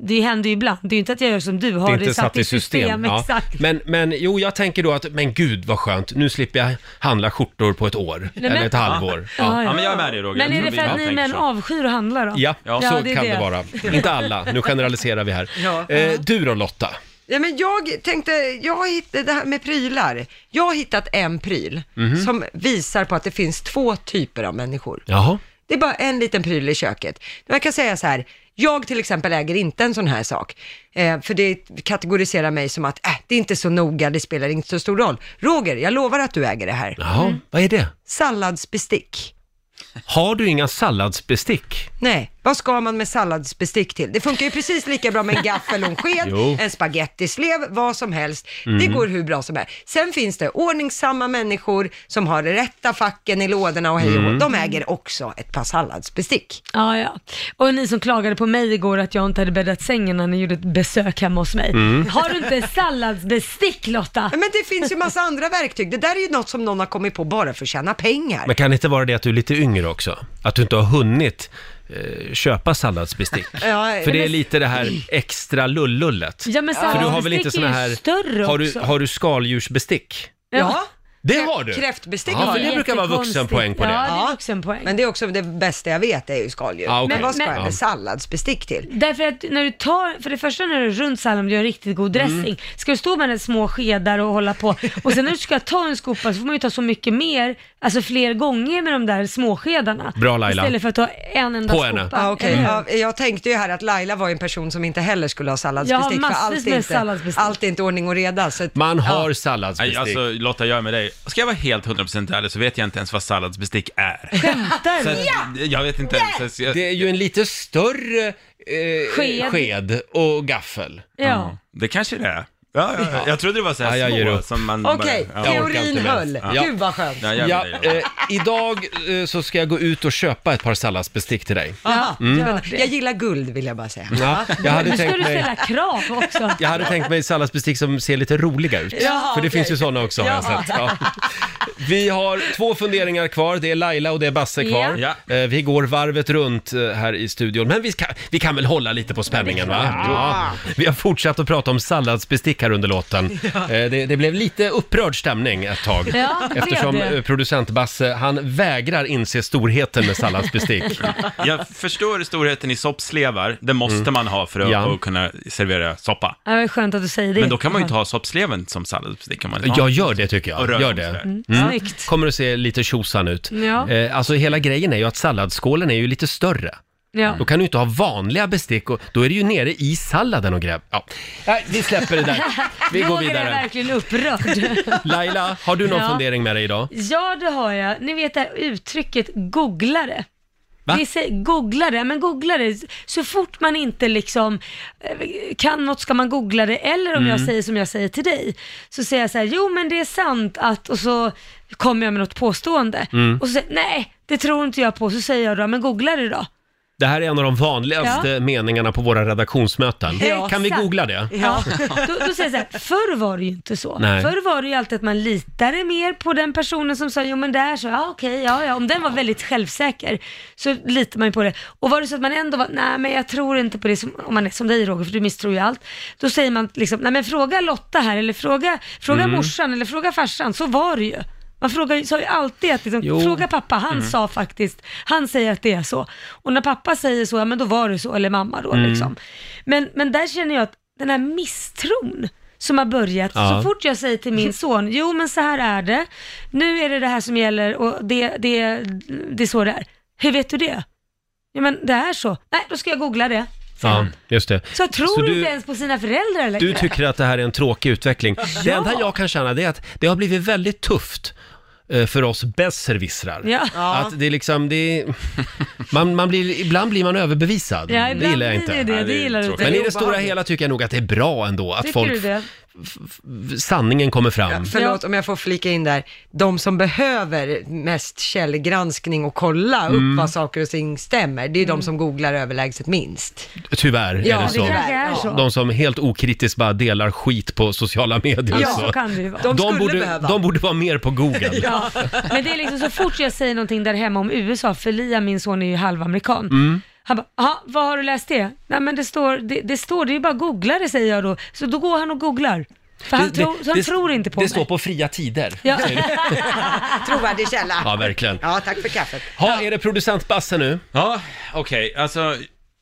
S4: det händer ju ibland, det är ju inte att jag gör som du, har
S1: Det
S4: det,
S1: är inte satt i system. ja.
S4: Exakt.
S1: men, men jo, jag tänker då att, men gud vad skönt, nu slipper jag handla skjortor på ett år,
S4: men-
S1: eller ett halvår. Ja,
S3: Ja, men jag är med dig Roger.
S4: Men
S3: Jag
S4: är
S3: tror
S4: det
S3: vi
S4: för att
S3: alla
S4: ni
S3: tänker
S4: män
S3: så.
S4: avskyr att handla då?
S1: ja,
S3: Ja,
S1: så
S4: det är
S1: kan det.
S4: det.
S1: vara. Inte alla, nu generaliserar vi här. Eh, du då Lotta?
S2: Ja, men jag tänkte, jag har hittat det här med prylar. Jag har hittat en pryl
S1: Mhm.
S2: som visar på att det finns två typer av människor.
S1: Jaha.
S2: Det är bara en liten pryl i köket. Man kan säga så här, Jag till exempel äger inte en sån här sak, eh, för det kategoriserar mig som att äh, det är inte så noga, det spelar inte så stor roll. Roger, jag lovar att du äger det här.
S1: Jaha, vad är det?
S2: Salladsbestick.
S1: Har du inga salladsbestick?
S2: Nej, vad ska man med salladsbestick till? Det funkar ju precis lika bra med en gaffel och en sked,
S1: (laughs) Jo.
S2: en spagettislev, vad som helst. Det
S1: Mm.
S2: går hur bra som helst. Sen finns det ordningsamma människor som har det rätta facken i lådorna och hej och hå.
S4: Mm.
S2: De äger också ett par salladsbestick.
S4: Ja, ja. Och ni som klagade på mig igår att jag inte hade bäddat sängen när ni gjorde ett besök hemma hos mig.
S2: Mm.
S4: Har du inte salladsbestick Lotta?
S2: Men det finns ju massa andra verktyg. Det där är ju något som någon har kommit på bara för att tjäna pengar.
S1: Men kan det inte vara det att du är lite yngre också? Att du inte har hunnit eh, köpa salladsbestick?
S2: Ja,
S1: För det är
S2: men-
S1: lite det här extra lullullet.
S4: Ja, men
S1: För du har väl inte
S4: salladsbestick
S1: såna
S4: är ju
S1: här...
S4: större
S1: har, du,
S4: också.
S1: har du skaldjursbestick?
S2: Ja.
S1: Det har du!
S2: Kräftbestick
S1: ja,
S2: har
S1: för
S2: jag.
S1: det brukar vara vuxenpoäng på det.
S4: vuxenpoäng.
S2: Men det är också det bästa jag vet är ju skaldjur.
S1: Ja, okej.
S2: Men vad ska
S1: Men-
S2: jag
S1: Ja.
S2: med salladsbestick till?
S4: Därför att när du tar, för det första när du är runt sallad, om du gör en riktigt god dressing,
S2: Mm.
S4: ska du stå med den små skedar och hålla på. Och sen när du ska ta en skopa så får man ju ta så mycket mer, alltså fler gånger med de där småskedarna.
S1: Bra, Laila.
S4: Istället för att ta en enda
S1: På henne.
S4: skopa. Mm.
S2: Ja, Ah, okej.
S4: Eller hur?
S2: ja, jag tänkte ju här att Laila var ju en person som inte heller skulle ha salladsbestick.
S4: Jag har
S2: för
S4: massvis
S2: allt är
S4: med
S2: inte,
S4: salladsbestick.
S2: Allt är inte ordning och reda. Så att,
S1: Man
S2: ja.
S1: har salladsbestick.
S3: Nej, alltså Lotta, jag är med dig. Ska jag vara helt 100% ärlig så vet jag inte ens vad salladsbestick är.
S4: Skämtar
S3: Så
S4: du?
S3: att, Jag vet inte ens. så Jag...
S1: Det är ju en lite större eh,
S4: Sked.
S1: sked och gaffel.
S4: Ja. Ja,
S3: Det kanske det är. Ja, ja, ja. Jag trodde det var så här
S1: Ja, jag ger
S3: små
S1: upp.
S3: som man
S2: Mm. Okej,
S3: bara... ja.
S2: teorin höll. Gud vad skönt.
S3: Ja, jag
S1: Ja,
S3: vill
S1: eh, idag eh, så ska jag gå ut och köpa ett par salladsbestick till dig.
S2: Aha,
S1: Mm.
S2: spännande. Jag gillar guld vill jag bara säga.
S1: Ja, jag hade
S4: nu ska
S1: tänkt
S4: du
S1: mig-
S4: ställa krav också.
S1: Jag hade tänkt mig salladsbestick som ser lite roliga ut.
S4: Jaha,
S1: för det
S4: okej.
S1: finns ju sådana också har jag
S4: Ja.
S1: sett. Ja. Vi har två funderingar kvar. Det är Laila och det är Basse kvar.
S4: Ja.
S1: Eh, Vi går varvet runt eh, här i studion. Men vi, ska, vi kan väl hålla lite på spänningen va?
S5: Ja.
S1: Vi har fortsatt att prata om salladsbestick här under låten.
S5: (laughs) Ja.
S1: Eh, Det, det blev lite upprörd stämning ett tag.
S5: Ja, det blev
S1: eftersom
S5: det.
S1: eh, producent Basse, han vägrar inse storheten med salladsbestick.
S3: Jag förstår storheten i soppslevar, det måste man ha för att,
S1: Mm. Ja.
S3: att kunna servera soppa.
S4: Ja, det är skönt att du säger det.
S3: Men då kan man ju inte ha soppsleven som salladsbestick. Kan man inte ha.
S1: Jag gör det tycker
S3: Och
S1: jag.
S3: rödkål
S1: Gör det.
S3: sådär.
S4: Mm. Snyggt.
S1: Kommer att se lite tjosan ut.
S4: Ja.
S1: Eh, alltså hela grejen är ju att salladsskålen är ju lite större.
S4: Ja.
S1: Då kan du inte ha vanliga bestick och då är det ju nere i salladen och gräv. Ja. Nej, vi släpper det
S4: (laughs)
S1: där. Vi går
S4: Roger är
S1: vidare.
S4: verkligen upprörd.
S1: (laughs) Laila, har du någon
S4: Ja.
S1: fundering med dig idag?
S4: Ja, det har jag. Ni vet det här uttrycket googlare.
S1: Va?
S4: Vi säger googlare, men googlare, så fort man inte liksom eh, kan något ska man googla det, eller om jag
S11: Mm.
S4: säger som jag säger till dig, så säger jag så här, jo men det är sant att, och så kommer jag med något påstående,
S1: Mm.
S4: och så säger nej, det tror inte jag på, så säger jag då, men googla det då.
S1: Det här är en av de vanligaste
S4: Ja.
S1: meningarna på våra redaktionsmöten.
S4: Ja,
S1: kan vi
S4: exakt.
S1: googla det?
S4: Ja. Då, då säger jag så här, förr var det ju inte så.
S1: Nej.
S4: Förr var det ju alltid att man litade mer på den personen som sa, jo men där så, ja okej, ja ja. Om den var väldigt självsäker så litar man ju på det. Och var det så att man ändå var, nej men jag tror inte på det, som, om man är som dig Roger, för du misstror ju allt. Då säger man liksom, nej men fråga Lotta här, eller fråga, fråga
S1: Mm.
S4: morsan, eller fråga farsan, så var det ju. Man frågar, ju- sa ju alltid att liksom,
S1: Jo.
S4: fråga pappa, han
S1: Mm.
S4: sa faktiskt, han säger att det är så. Och när pappa säger så, ja men då var det så, eller mamma då
S1: Mm.
S4: liksom. Men, men där känner jag att den här misstron som har börjat,
S11: Ja.
S4: så fort jag säger till min son, jo men så här är det, nu är det det här som gäller och det, det, det är så det är. Hur vet du det? Ja men det är så. Nej, då ska jag googla det.
S1: Ja, just det.
S4: Så jag tror
S1: Så du-
S4: inte ens på sina föräldrar längre.
S1: Du tycker att det här är en tråkig utveckling. Det
S4: Ja.
S1: enda jag kan känna det är att det har blivit väldigt tufft eh, för oss besserwissrar.
S4: Ja. Ja.
S1: Att det är liksom, det är, man, man blir, ibland blir man överbevisad.
S4: Ja,
S1: det
S4: ibland
S1: gillar jag
S4: blir
S1: inte.
S4: det det. Nej, det Det är gillar du tråkigt.
S1: Men
S4: inte.
S1: i det stora
S4: Obehagligt.
S1: hela tycker jag nog att det är bra ändå att
S2: Tycker
S1: folk,
S2: du det?
S1: f- f- sanningen kommer fram.
S2: Mm. Förlåt om jag får flika in där. De som behöver mest källgranskning och kolla
S1: Mm.
S2: upp vad saker och ting stämmer, det är
S4: Mm.
S2: de som googlar överlägset minst. (laughs)
S1: Tyvärr
S2: Ja,
S1: är det
S2: det
S1: så.
S2: kanske är så.
S1: De som helt okritiskt bara delar skit på sociala medier.
S4: Ja, så kan det ju vara.
S1: De,
S4: De skulle
S1: borde,
S4: behöva.
S1: de borde vara mer på Google.
S4: (laughs) Ja. Men det är liksom så fort jag säger någonting där hemma om USA, för Liam, min son, är ju halvamerikan.
S1: Mm.
S4: Han bara, "Jaha, vad har du läst det? Nej men det står, det, det står, det är ju bara googla det säger jag då. Så då går han och googlar. För han, tror, så han
S1: det-
S4: tror inte på
S1: Det
S4: mig.
S1: står på fria tider.
S4: Ja.
S2: Trovärdig källa.
S1: Ja, verkligen.
S2: Ja, tack för kaffet.
S1: Ha, är det producent Basse nu?
S3: Ja, okej, alltså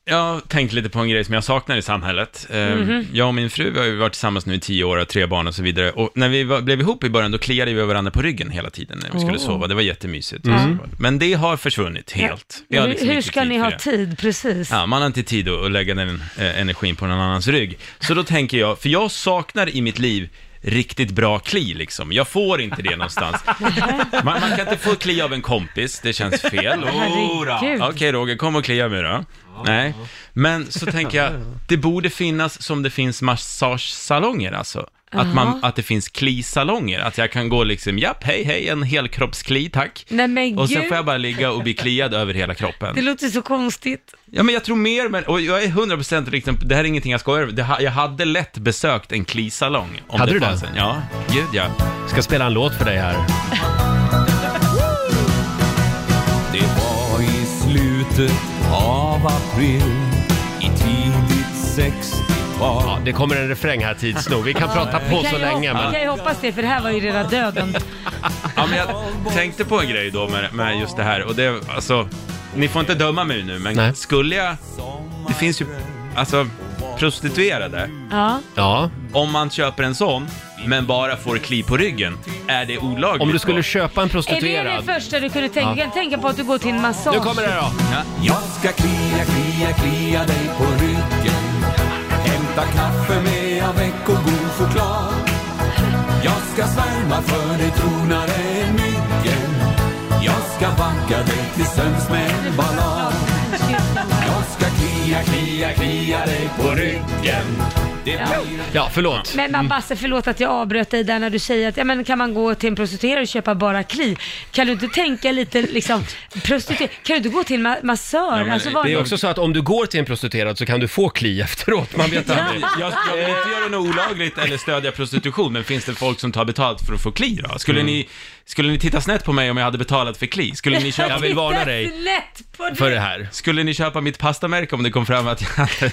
S3: Jag tänkte lite på en grej som jag saknar i samhället. Eh,
S4: Mhm.
S3: Jag och min fru har ju varit tillsammans nu i tio år, har tre barn och så vidare. Och när vi var, blev ihop i början, då kliade vi varandra på ryggen hela tiden när vi skulle
S4: Oh.
S3: sova. Det var jättemysigt.
S4: Mm.
S3: Men det har försvunnit helt. Vi har
S4: Hur-
S3: liksom
S4: Hur
S3: inte
S4: ska
S3: tid
S4: ni
S3: för
S4: ha
S3: det.
S4: tid? Precis.
S3: Ja, man har inte tid att att lägga den eh, energin på någon annans rygg. Så då tänker jag, för jag saknar i mitt liv riktigt bra kli liksom. Jag får inte det någonstans.
S4: (laughs)
S3: Man, man kan inte få kli av en kompis, det känns
S4: (laughs)
S3: fel.
S5: Herregud.
S3: Ora. Okej Roger, kom och klia mig då. Nej, men så tänker jag, det borde finnas som det finns massagesalonger alltså. Att, man,
S4: Jaha.
S3: att det finns klisalonger, att jag kan gå liksom, japp, hej, hej, en helkroppskli, tack.
S4: Nej men
S3: Och sen
S4: gud,
S3: får jag bara ligga och bli kliad över hela kroppen.
S4: det låter så konstigt.
S3: Ja, men jag tror mer, men, och jag är 100% liksom, det här är ingenting jag skojar över. Det ha- Jag hade lätt besökt en klisalong. om
S1: Hade du
S3: fanns
S1: det?
S3: en. Ja, gud ja.
S1: Ska spela en låt för dig här.
S5: Det var i slutet av april i tidigt 60-tal.
S1: Ja, det kommer en refräng här tids nog. Vi kan prata på
S4: kan
S1: så
S4: ju
S1: länge.
S4: hoppas-
S1: Men...
S4: kan ju hoppas det, för det här var ju rena döden.
S3: ja men jag tänkte på en grej då med, med just det här, och det, alltså, ni får inte döma mig nu, men
S1: Nej.
S3: skulle jag, det finns ju, alltså, prostituerade.
S4: Ja.
S1: Ja.
S3: Om man köper en sån, men bara får kli på ryggen, är det olagligt
S1: Om du
S3: då?
S1: skulle köpa en
S4: Är det det
S1: prostituerad.
S4: första du kunde tänka? Kan tänka på att du går till en massage?
S1: Nu kommer det då.
S5: Jag ska klia, klia, klia dig på ryggen Hämta kaffe med avec och god choklad Jag ska svärma för dig tronare än myggen Jag ska vagga dig till sömns med en ballad Jag ska klia, klia, klia dig på ryggen Det blir
S1: Ja, förlåt.
S4: (laughs) Men man, Basse, förlåt att jag avbröt dig där när du säger att ja, men kan man gå till en prostituerad och köpa bara kli? Kan du inte tänka lite liksom, prostituerad, kan du inte gå till en ma- massör?
S3: men
S4: alltså,
S3: det
S4: vad-
S1: Det är också så att om du går till en prostituerad så kan du få kli efteråt. Man vet aldrig.
S3: Jag, jag vill inte göra något olagligt eller stödja prostitution, men finns det folk som tar betalt för att få kli då? Skulle,
S1: Mm.
S3: ni, skulle ni titta snett på mig om jag hade betalat för kli?
S4: (laughs)
S3: Skulle ni köpa,
S1: Jag vill varna dig
S4: Titta snett på
S1: för
S4: dig.
S1: det här.
S3: skulle ni köpa mitt pastamärke om det kom fram att jag hade...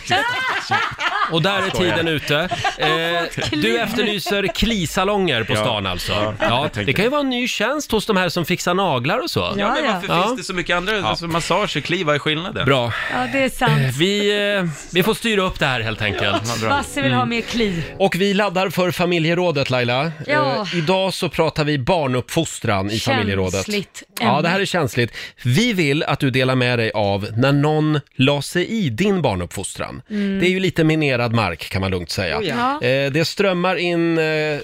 S1: Och där är tiden ute. Eh, du efterlyser klisalonger på
S3: Ja.
S1: stan alltså.
S3: jag
S1: Ja,
S3: tänker
S1: det kan ju
S3: det.
S1: vara en ny tjänst hos de här som fixar naglar och så.
S3: Ja, men varför
S1: Ja.
S3: finns det så mycket andra? Alltså, massage och kli, vad är skillnaden?
S1: Bra.
S4: Ja, det är sant.
S1: Vi, eh, vi får styra upp det här helt enkelt.
S4: Basse vill ha
S3: Mm.
S4: mer kli.
S1: Och vi laddar för familjerådet Laila.
S4: Ja.
S1: Eh, idag så pratar vi barnuppfostran i familjerådet.
S4: Känsligt ämne.
S1: Ja, det här är känsligt. Vi vill att du delar med dig av när någon la sig i din barnuppfostran. Det är ju lite minerad mark kan man lugnt säga.
S4: Mm. ja.
S1: Eh, det strömmar in eh, eh,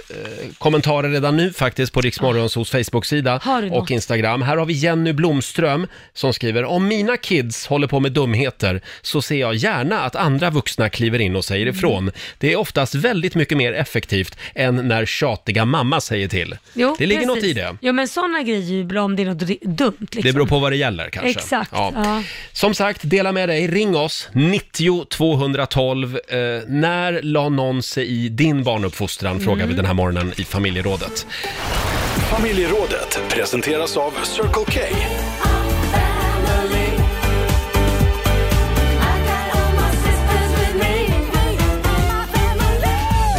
S1: kommentarer redan nu faktiskt på Riksmorgonsos Facebook-sida
S4: Har du
S1: och
S4: något?
S1: Instagram. Här har vi Jenny Blomström som skriver om mina kids håller på med dumheter så ser jag gärna att andra vuxna kliver in och säger
S4: Mm.
S1: ifrån. Det är oftast väldigt mycket mer effektivt än när tjatiga mamma säger till.
S4: Jo,
S1: det ligger något
S4: precis.
S1: i det.
S4: Jo, men sådana grejer är ju bra om det är något d- dumt. Liksom.
S1: Det beror på vad det gäller kanske.
S4: Exakt.
S1: Ja.
S4: Ja.
S1: Som sagt, dela med dig. Ring oss, 90 212. Eh, när la någon sig i din barnuppfostran? Frågar
S4: Mm.
S1: vi den här morgonen i familjerådet.
S7: Familjerådet presenteras av Circle K.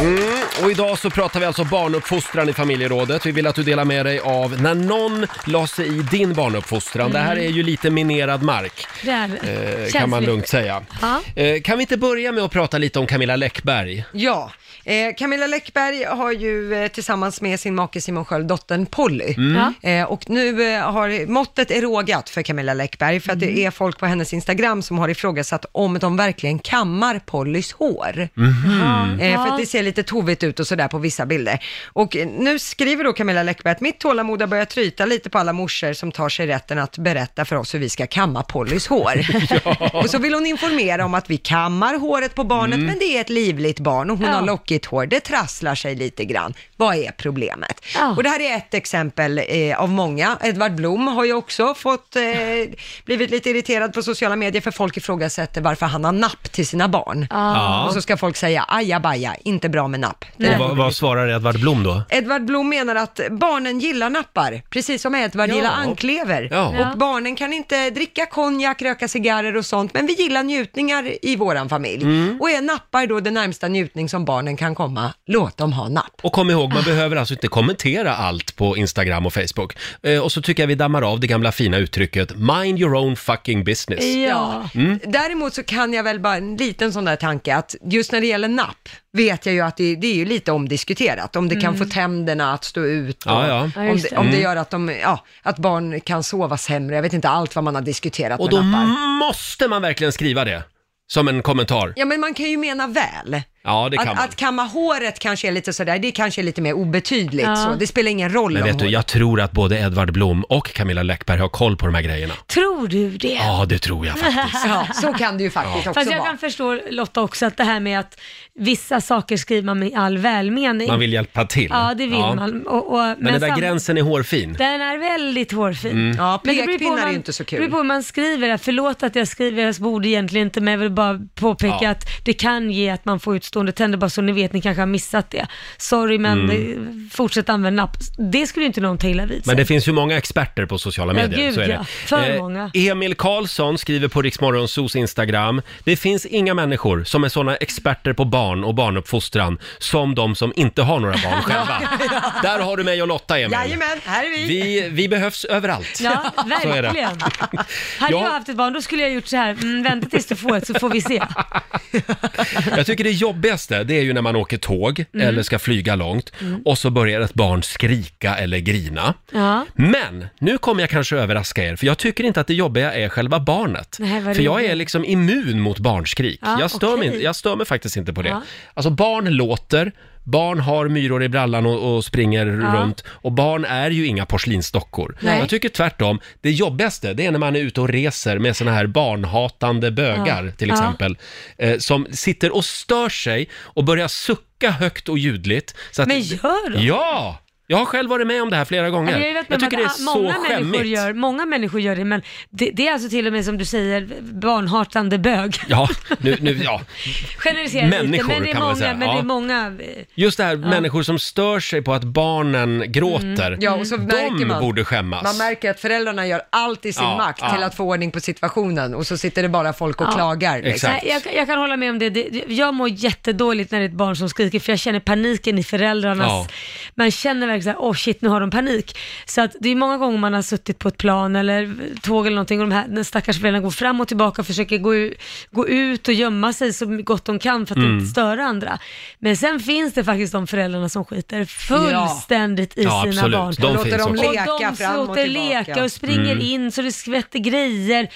S1: Mm, Och idag så pratar vi alltså barnuppfostran i familjerådet. Vi vill att du delar med dig av när någon la sig i din barnuppfostran. Det här är ju lite minerad mark,
S4: Där.
S1: eh,
S4: Känsligt.
S1: kan man lugnt säga.
S4: Ja.
S1: Eh, kan vi inte börja med att prata lite om Camilla Läckberg?
S2: Ja, eh, Camilla Läckberg har ju eh, tillsammans med sin make Simon Sköld dottern Polly.
S4: Ja.
S2: Eh, och nu eh, har måttet är rågat för Camilla Läckberg för att det är folk på hennes Instagram som har ifrågasatt om de verkligen kammar Pollys hår.
S1: Mhm.
S7: Mm.
S2: Eh, för att det ser lite tovigt ut och sådär på vissa bilder. Och eh, nu skriver då Camilla Läckberg att mitt tålamod har börjat tryta lite på alla morsor som tar sig rätten att berätta för oss hur vi ska kamma Pollys hår. Och så vill hon informera om att vi kammar håret på barnet, men det är ett livligt barn och hon
S4: Ja.
S2: har lockigt hår. Det trasslar sig lite grann. Vad är problemet?
S4: Ja.
S2: Och det här är ett exempel eh, av många. Edvard Blom har ju också fått, eh, blivit lite irriterad på sociala medier för folk ifrågasätter varför han har napp till sina barn.
S4: Ja.
S2: Och så ska folk säga ajabaja, inte bra med napp. Det
S1: Och vad, vad svarar Edvard Blom då?
S2: Edvard Blom menar att barnen gillar nappar, precis som Edvard
S1: Ja.
S2: gillar anklever.
S1: Ja.
S2: Och barnen kan inte dricka konjak, röka cigarrer och sånt, men vi gillar njutningar i våran familj.
S1: Mm.
S2: Och är nappar då den närmsta njutning som barnen kan komma, låt dem ha napp.
S1: Och kom ihåg, man behöver alltså inte kommentera allt på Instagram och Facebook. Eh, och så tycker jag vi dammar av det gamla fina uttrycket “Mind your own fucking business”. Mm.
S4: Ja.
S2: Däremot så kan jag väl bara en liten sån där tanke att just när det gäller napp vet jag ju att det, det är ju lite omdiskuterat om det kan få tänderna att stå ut och
S1: Ja, ja.
S4: Mm.
S1: Mm.
S4: Ja,
S2: om,
S4: just
S2: det,
S4: det.
S2: om det gör att, de, ja, att barn kan sova sämre. Jag vet inte allt vad man har diskuterat
S1: Och
S2: med
S1: då
S2: nappar.
S1: måste man verkligen skriva det som en kommentar.
S2: Ja men man kan ju mena väl.
S1: Ja, det kan
S2: att,
S1: man.
S2: att kamma håret kanske är lite sådär, det kanske är lite mer obetydligt
S4: Ja.
S2: så. Det spelar ingen roll
S1: Men
S2: om
S1: vet du,
S2: hår-
S1: jag tror att både Edvard Blom och Camilla Läckberg har koll på de här grejerna.
S4: Tror du det?
S1: Ja, det tror jag
S4: (laughs)
S1: faktiskt.
S2: ja, Så kan det ju faktiskt också
S4: Fast jag
S2: vara.
S4: kan förstå Lotta också att det här med att vissa saker skriver man med all välmening.
S1: Man vill hjälpa till.
S4: Ja, det vill man. Och, och,
S1: Men, den där
S4: sam-
S1: gränsen är hårfin.
S4: Den är väldigt hårfin.
S1: Mm.
S2: Ja,
S4: Men det beror på
S2: pekpinnar
S4: om man-
S2: är ju inte så kul.
S4: Det beror på hur man skriver det. Förlåt att jag skriver, jag borde egentligen inte, men jag vill bara påpeka
S1: Ja.
S4: att det kan ge att man får utstående tänder, bara så ni vet, ni kanske har missat det. Sorry, men eh, fortsätt använda napp. Det skulle ju inte någon ta illa vid sig.
S1: Mm. Men det finns ju många experter på sociala
S4: Ja,
S1: medier.
S4: gud,
S1: så är det. Eh,
S4: ja. För många.
S1: Emil Karlsson skriver på Riksmorgonsos Instagram. Det finns inga människor som är sådana experter på barn och barnuppfostran som de som inte har några
S4: (laughs)
S1: barn själva. Där har du mig och Lotta, Emil.
S2: Jajamän, här är vi.
S1: Vi, vi behövs överallt.
S4: Ja,
S1: Så är det. (laughs)
S4: verkligen. Hade
S1: Ja.
S4: jag haft ett barn, då skulle jag gjort så här, mm, vänta tills du får ett så får vi se.
S1: Jag tycker det jobbigaste, det är ju när man åker tåg eller ska flyga långt (laughs) och så börjar ett barn skrika eller grina.
S4: Ja.
S1: Men nu kommer jag kanske överraska er, för jag tycker inte att det jobbiga är själva barnet.
S4: Nej, vad
S1: för jag
S4: roligt.
S1: är liksom immun mot barnskrik.
S4: Ja,
S1: jag, stör mig,
S4: Ah, okej. Ah.
S1: inte- jag stör mig faktiskt inte på det.
S4: Ja.
S1: Alltså barn låter, barn har myror i brallan och, och springer runt och barn är ju inga porslinsdockor.
S4: Ah. Nej.
S1: Jag tycker tvärtom, det jobbigaste det är när man är ute och reser med såna här barnhatande bögar till
S4: Ja.
S1: exempel, eh, som sitter och stör sig och börjar sucka högt och ljudligt. Så att
S4: Men gör de?
S1: Ja! Jag har själv varit med om det här flera gånger.
S4: Ja, men Jag, vet
S1: jag tycker det är
S4: att många
S1: så
S4: människor
S1: skämmigt.
S4: gör, Många människor gör det, men det, det är alltså till och med som du säger, barnhartande bög. (laughs)
S1: Ja, nu, nu, ja.
S4: Generaliserar lite,
S1: Människor
S4: men det är
S1: kan man
S4: många,
S1: säga,
S4: men
S1: ja.
S4: det är många eh,
S1: Just det här, människor som stör sig på att barnen gråter.
S2: Mm. Ja, och så
S1: De
S2: märker man.
S1: borde skämmas.
S2: Man märker att föräldrarna gör allt i sin
S1: Ja,
S2: makt
S1: ja.
S2: till att få ordning på situationen och så sitter det bara folk och
S4: Ja,
S2: klagar. liksom.
S1: exakt.
S4: Nej, jag, jag kan hålla med om det. det. Jag mår jättedåligt när det är ett barn som skriker för jag känner paniken i föräldrarnas...
S1: Ja.
S4: Man känner verkligen såhär, åh oh shit nu har de panik. Så att det är många gånger man har suttit på ett plan eller tåg eller någonting och de här, den stackars föräldern går fram och tillbaka och försöker gå, u- gå ut och gömma sig så gott de kan för att
S1: Mm.
S4: inte störa andra. Men sen finns det faktiskt de föräldrarna som skiter fullständigt i
S1: Ja,
S4: sina
S1: absolut.
S4: barn.
S1: De
S2: Låter
S1: finns
S2: dem
S1: också. Mm.
S2: leka
S4: och de
S2: fram och
S4: låter
S2: tillbaka.
S4: leka och springer in så det skvätter grejer.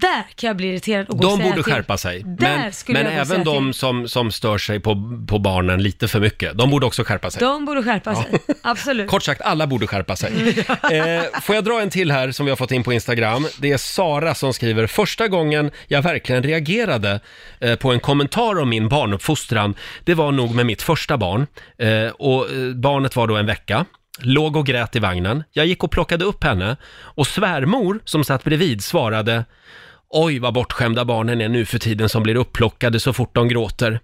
S4: Där kan jag bli irriterad och gå och
S1: De
S4: säga
S1: borde
S4: till.
S1: skärpa sig.
S4: Där
S1: Men,
S4: skulle
S1: men
S4: jag gå och säga
S1: även de
S4: till.
S1: som, som stör sig på, på barnen lite för mycket, de borde också skärpa sig.
S4: De borde skärpa sig, (laughs) absolut.
S1: Kort sagt, alla borde skärpa sig. Eh, får jag dra en till här som vi har fått in på Instagram? Det är Sara som skriver, första gången jag verkligen reagerade eh, på en kommentar om min barnuppfostran, det var nog med mitt första barn. Eh, och eh, barnet var då en vecka. Låg och grät i vagnen. Jag gick och plockade upp henne och svärmor som satt bredvid svarade Oj vad bortskämda barnen är nu för tiden som blir upplockade så fort de gråter.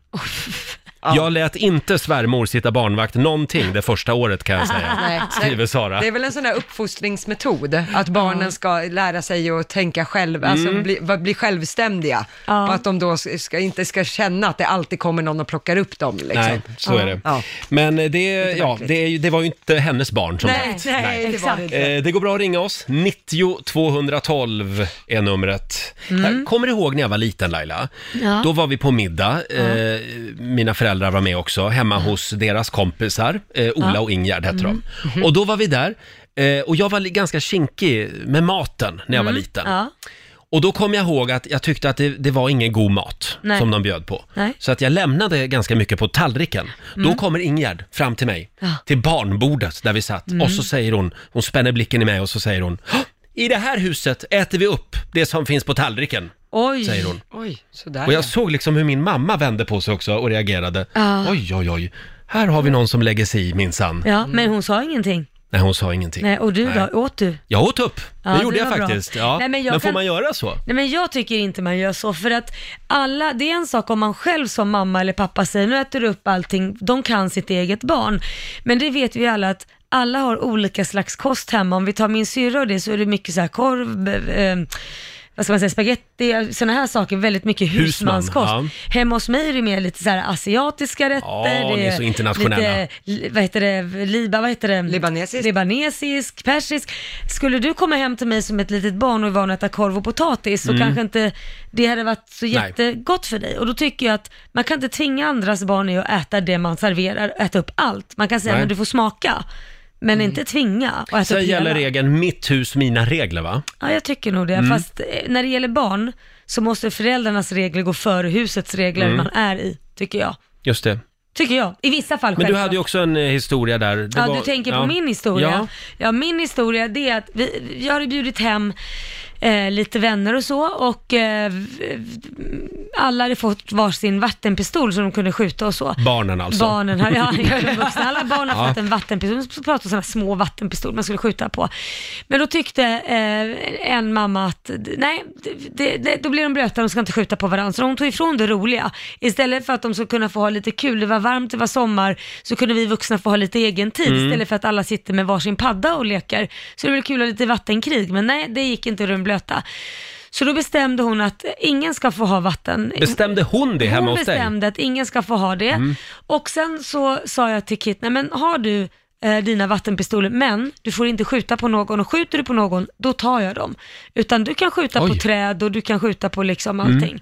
S1: Jag lät inte svärmor sitta barnvakt någonting det första året kan jag
S4: (laughs)
S1: säga.
S2: Nej,
S1: Skriver Sara.
S2: Det är väl en sån där uppfostringsmetod, att barnen ska lära sig att tänka själv,
S1: Mm.
S2: alltså bli, va- bli självständiga.
S4: Ja.
S2: Och att de då ska, inte ska känna att det alltid kommer någon och plockar upp dem. Liksom.
S1: Nej, så är det.
S2: Ja.
S1: Men det, ja, det, är ju- det var ju inte hennes barn som
S4: Nej,
S1: sagt.
S4: nej,
S2: det var
S4: exakt.
S2: det inte.
S1: Eh, Det går bra att ringa oss. 90 212 är numret.
S2: Mm.
S1: Jag kommer ihåg när jag var liten Laila.
S4: Ja.
S1: Då var vi på middag. Eh, Mina föräldrar var med också, hemma hos deras kompisar. Eh, Ola och Ingegerd hette
S2: Mm.
S1: de.
S2: Mhm.
S1: Och då var vi där. eh, Och jag var li- ganska kinkig med maten när jag
S2: Mm.
S1: var liten.
S4: Ja.
S1: Och då kom jag ihåg att jag tyckte att det, det var ingen god mat
S4: Nej.
S1: som de bjöd på.
S4: Nej.
S1: Så att jag lämnade ganska mycket på tallriken.
S4: Mm.
S1: Då kommer Ingegerd fram till mig, till barnbordet där vi satt. Och
S4: Mm.
S1: så säger hon, hon spänner blicken i mig och så säger hon, "Hå! i det här huset äter vi upp det som finns på tallriken,
S4: Oj.
S1: säger hon.
S2: Oj, sådär
S1: Och
S2: ja.
S1: jag såg liksom hur min mamma vände på sig också och reagerade.
S4: Ja.
S1: Oj, oj, oj. Här har vi någon som lägger sig i minsann.
S2: Mm.
S4: Ja, men hon sa ingenting.
S1: Nej, hon sa ingenting.
S4: Nej, och du då? Åt du?
S1: Jag åt upp.
S4: Ja,
S1: det
S4: det
S1: gjorde jag
S4: var bra.
S1: faktiskt. Ja.
S4: Nej,
S1: men
S4: men jag
S1: får
S4: kan-
S1: man göra så?
S4: Nej men jag tycker inte man gör så för att alla, det är en sak om man själv som mamma eller pappa säger nu äter du upp allting, de kan sitt eget barn. Men det vet vi ju alla att alla har olika slags kost hemma. Om vi tar min syrra och det så är det mycket så här korv, eh, vad ska man säga, spaghetti, sådana här saker, väldigt mycket
S1: Husman,
S4: husmanskost.
S1: ja.
S4: Hemma hos mig är det mer lite så här asiatiska rätter.
S1: Ja,
S4: det
S1: ni är så internationella.
S4: Lite, li- vad heter det, liba, vad heter det?
S12: Libanesisk.
S4: libanesisk, persisk. Skulle du komma hem till mig som ett litet barn och vara van att äta korv och potatis
S1: Mm.
S4: så kanske inte det hade varit så jättegott för dig. Och då tycker jag att man kan inte tvinga andras barn i att äta det man serverar, äta upp allt. Man kan säga
S1: Nej.
S4: men du får smaka, men inte tvinga och äta
S1: Sen
S4: upp hela.
S1: gäller Mm. regeln mitt hus, mina regler va?
S4: Ja, jag tycker nog det. Fast eh, när det gäller barn så måste föräldrarnas regler gå före husets regler
S1: Mm.
S4: man är i, tycker jag.
S1: Just det.
S4: Tycker jag. I vissa fall
S1: Men du
S4: självklart.
S1: hade ju också en eh, historia där. Det
S4: Ja,
S1: var-
S4: du tänker
S1: ja.
S4: på min historia.
S1: Ja.
S4: Ja. min historia det är att vi, jag hade bjudit hem eh, lite vänner och så och eh, v- v- alla hade fått varsin vattenpistol som de kunde skjuta och så.
S1: Barnen alltså.
S4: Barnen
S1: (laughs)
S4: har, ja, jag är vuxen. alla barn har fått en vattenpistol, så pratar om sådana små vattenpistol man skulle skjuta på. Men då tyckte eh, en mamma att, nej, det, det, då blir de blöta, de ska inte skjuta på varandra. Så de tog ifrån det roliga. Istället för att de skulle kunna få ha lite kul, det var varmt, det var sommar, så kunde vi vuxna få ha lite egen tid
S1: Mm.
S4: istället för att alla sitter med varsin padda och leker. Så det var kul att ha lite vattenkrig, men nej, det gick inte de blöta. Så då bestämde hon att ingen ska få ha vatten.
S1: Bestämde hon det hemma
S4: Hon
S1: hos dig? Mm.
S4: bestämde att ingen ska få ha det. Och sen så sa jag till Kit, nej men har du eh, dina vattenpistoler, men du får inte skjuta på någon och skjuter du på någon, då tar jag dem. Utan du kan skjuta på
S1: Oj. Mm.
S4: träd och du kan skjuta på liksom allting.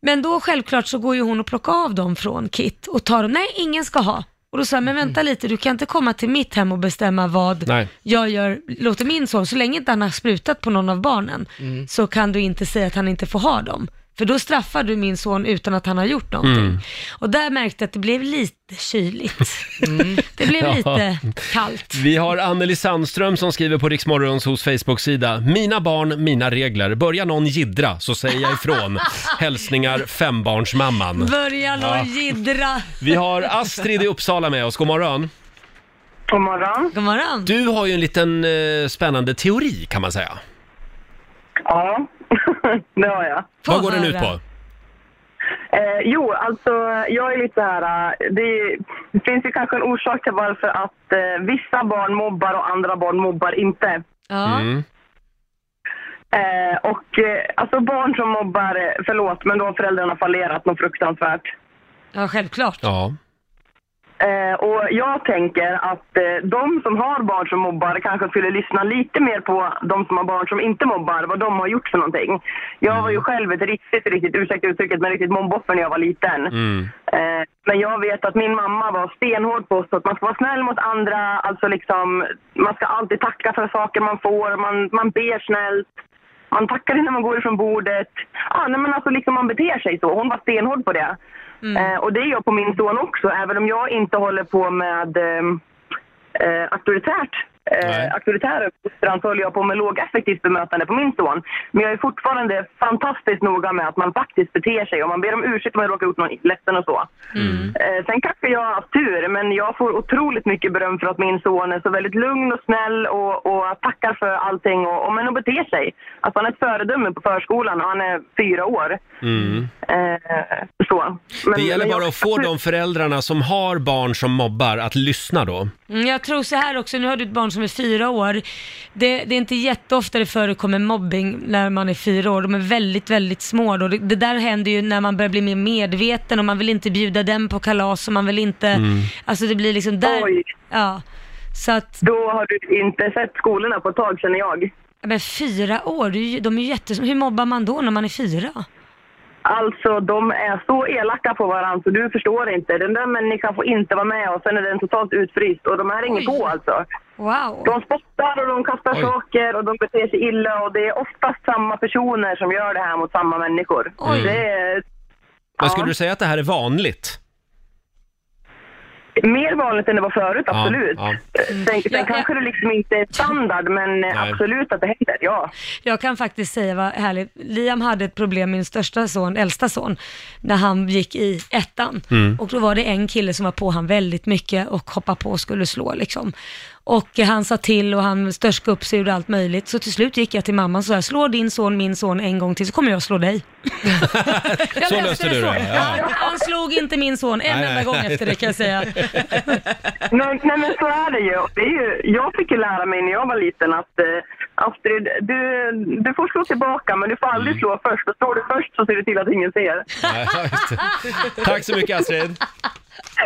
S4: Men då självklart så går ju hon och plockar av dem från Kit och tar dem, nej ingen ska ha. Och då sa jag, men vänta lite, du kan inte komma till mitt hem och bestämma vad
S1: Mm. Nej.
S4: jag gör, låter min son, så länge inte han har sprutat på någon av barnen,
S1: Mm.
S4: så kan du inte säga att han inte får ha dem. För då straffar du min son utan att han har gjort
S7: Mm.
S4: någonting.
S1: Mm.
S4: Och där märkte jag att det blev lite kyligt. Det blev lite kallt.
S1: Vi har Anneli Sandström som skriver på Riksmorgons hos Facebook-sida. Mina barn, mina regler. Börjar någon jiddra så säger jag
S4: (laughs)
S1: ifrån. Hälsningar fembarnsmamman.
S4: Börja någon jiddra.
S1: Vi har Astrid i Uppsala med oss. God morgon.
S9: God morgon.
S4: God morgon.
S1: Du har ju en liten eh, spännande teori kan man säga.
S9: Ja, (laughs) det har jag.
S4: Få
S1: Vad går den ut
S4: höra.
S1: på?
S9: Eh, jo, alltså jag är lite så här... eh, Det, det finns ju kanske en orsak till varför att eh, vissa barn mobbar och andra barn mobbar inte.
S4: Ja.
S9: Eh, och eh, alltså barn som mobbar, eh, förlåt, men då har föräldrarna fallerat något fruktansvärt.
S4: ja, självklart.
S1: Ja.
S9: Eh, och jag tänker att eh, de som har barn som mobbar kanske skulle lyssna lite mer på de som har barn som inte mobbar, vad de har gjort för någonting. Jag var ju själv ett riktigt, riktigt, ursäkta uttrycket, men riktigt mobboffer när jag var liten.
S1: Mm.
S9: Eh, men jag vet att min mamma var stenhård på oss att man ska vara snäll mot andra, alltså liksom, man ska alltid tacka för saker man får, man, man ber snällt. Man tackar innan man går ifrån bordet. Ah, nej, men alltså liksom man beter sig så. Hon var stenhård på det. Eh, och det är jag på min son också, även om jag inte håller på med ehm, eh, auktoritärt.
S1: Nej.
S9: Eh, auktoritär uppfostran så håller jag på med lågaffektivt bemötande på min son. Men jag är fortfarande fantastiskt noga med att man faktiskt beter sig och man ber om ursäkt om jag råkar ut någon ledsen och så.
S2: Mm.
S1: Mm.
S9: Eh, sen kanske jag har haft tur, men jag får otroligt mycket beröm för att min son är så väldigt lugn och snäll och, och tackar för allting och, och men och beter sig. Alltså han är ett föredöme på förskolan och han är fyra år.
S1: Mm.
S9: Eh, så. Men-
S1: Det gäller bara
S9: men jag- Mm.
S1: att få de föräldrarna som har barn som mobbar att lyssna då.
S4: Mm, Jag tror så här också, nu har du ett barn som är fyra år. Det, det är inte jätteofta det förekommer mobbing när man är fyra år. De är väldigt, väldigt små då. Det, det där händer ju när man börjar bli mer medveten och man vill inte bjuda den på kalas och man vill inte... Alltså det blir liksom där...
S9: Oj.
S4: Ja. Så att,
S9: Då har du inte sett skolorna på ett tag känner jag.
S4: men fyra år, det är ju- de är ju jättesmå. Hur mobbar man då när man är fyra?
S9: Alltså de är så elaka på varandra så du förstår inte. Den där människan får inte vara med och sen är den totalt utfryst och de här är inget
S4: Oj.
S9: på alltså.
S4: Wow.
S9: De spottar och de kastar
S1: Oj.
S9: saker och de beter sig illa och det är oftast samma personer som gör det här mot samma människor.
S4: Oj.
S9: Det är
S1: Men
S9: Ja.
S1: skulle du säga att det här är vanligt?
S9: mer vanligt än det var förut,
S1: Ja,
S9: absolut. Eh,
S1: ja.
S9: Sen, sen
S4: Mm. Ja, ja.
S9: kanske det liksom inte är standard men eh,
S1: Nej.
S9: absolut att det händer, ja.
S4: Jag kan faktiskt säga vad härligt, Liam hade ett problem med min största son, äldsta son, när han gick i
S1: Mm.
S4: ettan. Och då var det en kille som var på han väldigt mycket och hoppade på och skulle slå liksom. Och eh, han sa till och han störskade upp sig och gjorde allt möjligt. Så till slut gick jag till mamman och sa, slå din son, min son en gång till så kommer jag slå dig. Jag
S1: Så löste du det.
S4: Han,
S1: Ja.
S4: han slog inte min son en
S1: Nej,
S4: enda
S1: nej,
S4: gång
S1: nej.
S4: efter det kan jag
S1: (laughs)
S4: säga.
S9: Nej, nej men så är det ju. Det är ju. Jag fick ju lära mig när jag var liten att eh, Astrid, du, du får slå tillbaka men du får
S1: Mm.
S9: aldrig slå först. Och slår du först så ser du till att ingen ser.
S1: Ja, just
S4: (laughs)
S1: det. Tack så mycket Astrid.
S9: (laughs)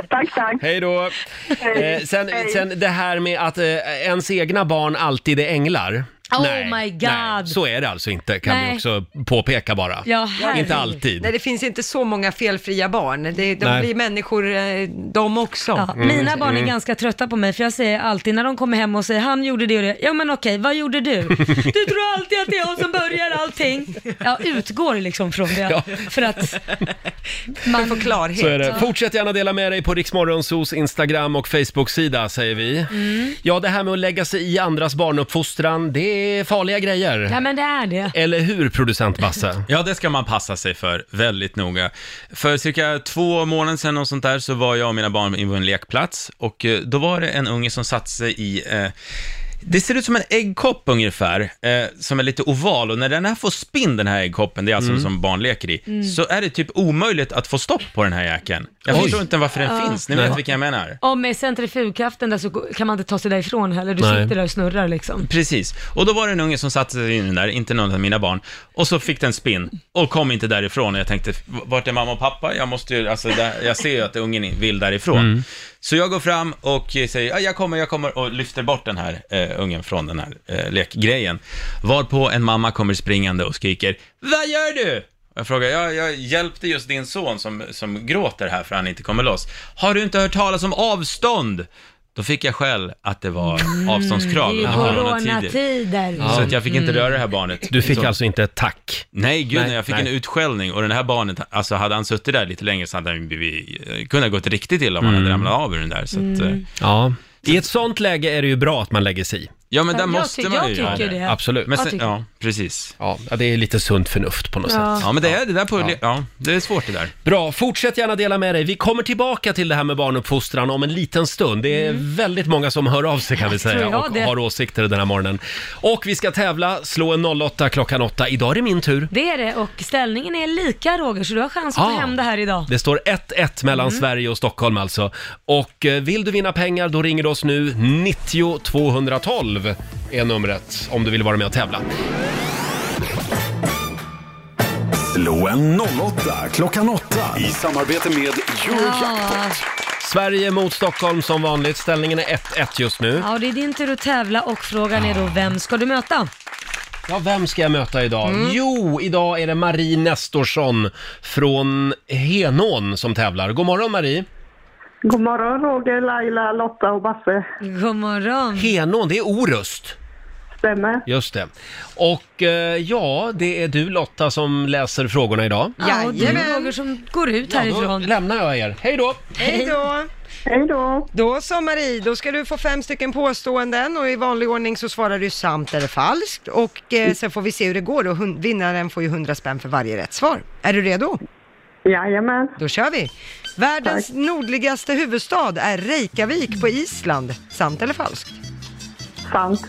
S9: Tack, tack.
S1: Hej då. Eh, sen,
S9: Hej.
S1: sen det här med att eh, ens egna barn alltid är änglar.
S4: Oh my God.
S1: nej, så är det alltså inte kan vi
S4: Nej.
S1: också påpeka bara.
S4: Ja, herregud.
S1: inte alltid.
S2: Nej, det finns inte så många felfria barn. Det, de
S1: Nej.
S2: blir människor eh, de också.
S4: Ja,
S3: Mm.
S4: Mina barn är ganska trötta på mig för jag säger alltid när de kommer hem och säger han gjorde det och det. Ja men okej, vad
S3: (laughs)
S4: gjorde du? Du tror alltid att det är jag som börjar allting. Jag utgår liksom från det.
S1: Ja.
S4: För att man får
S2: Klarhet.
S1: Så är det. Fortsätt gärna dela med dig på Riksmorgonsos Instagram och Facebook-sida säger vi.
S4: Mm.
S1: Ja, det här med att lägga sig i andras barnuppfostran, det är farliga grejer.
S4: Ja men det är det.
S1: Eller hur, producent Basse?
S3: Ja, det ska man passa sig för väldigt noga. För cirka två månader sedan och sånt där så var jag och mina barn inne på en lekplats och eh, då var det en unge som satte sig i eh, det ser ut som en äggkopp ungefär, eh, som är lite oval och när den här får spinn, den här äggkoppen, det är
S1: Mm.
S3: alltså som barn leker i, så är det typ omöjligt att få stopp på den här jäkeln. Jag
S1: Oj.
S3: förstår inte varför den finns, ni vet vilken jag menar.
S4: Och med centrifugkraften där så kan man inte ta sig därifrån heller. Du
S1: Nej.
S4: sitter där och snurrar liksom.
S3: Precis, och då var det en unge som satte sig in i den där, inte någon av mina barn, och så fick den spinn och kom inte därifrån. Och jag tänkte, vart är mamma och pappa? Jag måste ju, alltså, där, jag ser ju att ungen vill därifrån. Så jag går fram och säger, "Ja, jag kommer, jag kommer, och lyfter bort den här eh, ungen från den här eh, lekgrejen. Varpå en mamma kommer springande och skriker, vad gör du? Och Jag frågar, jag, jag hjälpte just din son som, som gråter här för han inte kommer loss. Har du inte hört talas om avstånd? Då fick jag skäll att det var avståndskrav.
S4: I
S3: under coronatider.
S4: Mm, coronatider. Mm.
S3: Så att jag fick inte röra det här barnet.
S1: Du fick
S3: så.
S1: alltså inte ett tack.
S3: Nej, gud,
S1: Nej,
S3: nej, jag fick
S1: nej.
S3: en utskällning och den här barnet, alltså hade han suttit där lite längre så hade han blivit, eh, kunnat gått riktigt illa om han hade ramlat av ur den där. Så att, eh,
S1: Mm.
S4: Mm.
S1: Ja. I ett sånt läge är det ju bra att man lägger sig i.
S3: ja, men där
S4: Jag
S3: måste
S4: ty-
S3: man
S4: jag
S3: ju göra
S4: tycker det.
S1: Absolut.
S3: Men
S4: Jag
S3: sen,
S4: tycker-
S3: ja, precis.
S1: Ja, det är lite sunt förnuft på något
S4: Ja.
S1: sätt.
S3: Ja, men det är det där på, ja. det är svårt det där.
S1: Bra, fortsätt gärna dela med dig. Vi kommer tillbaka till det här med barnuppfostran om en liten stund. Det är väldigt många som hör av sig kan vi säga
S4: tror Mm. jag
S1: och
S4: det.
S1: har åsikter den här morgonen. Och vi ska tävla, slå en 08 klockan 8. Idag är det min tur.
S4: Det är det och ställningen är lika Roger så du har chans att
S1: Ah.
S4: ta hem det här idag.
S1: Det står 1-1 mellan
S4: Mm.
S1: Sverige och Stockholm alltså. Och eh, vill du vinna pengar då ringer du oss nu. 90 212 är numret om du vill vara med och tävla.
S5: Slå en 08 klockan 8 i samarbete med Eurojackpot.
S1: Sverige mot Stockholm som vanligt. Ställningen är 1-1 just nu.
S4: Ja, det är din tur att tävla och frågan är då vem ska du möta?
S1: Ja, vem ska jag möta idag?
S4: Mm.
S1: Jo, idag är det Marie Nestorsson från Henån som tävlar. God morgon Marie!
S9: God morgon Roger, Laila, Lotta och Basse.
S4: God morgon.
S1: Henån, det är Orust.
S9: Stämmer?
S1: Just det. Och eh, ja, det är du Lotta som läser frågorna idag.
S4: Ja, och det är
S2: Jajamän.
S4: Roger som går ut
S1: Då
S4: härifrån.
S1: lämnar jag er. Hej då!
S2: Hej då!
S9: Hej då!
S2: Då sa Marie, då ska du få fem stycken påståenden och i vanlig ordning så svarar du sant eller falskt och
S9: Mm.
S2: eh, sen får vi se hur det går och hun- vinnaren får ju 100 spänn för varje rätt svar. Är du redo?
S9: Jajamän.
S2: Då kör vi! Världens nordligaste huvudstad är Reykjavik på Island. Sant eller falskt?
S9: Sant.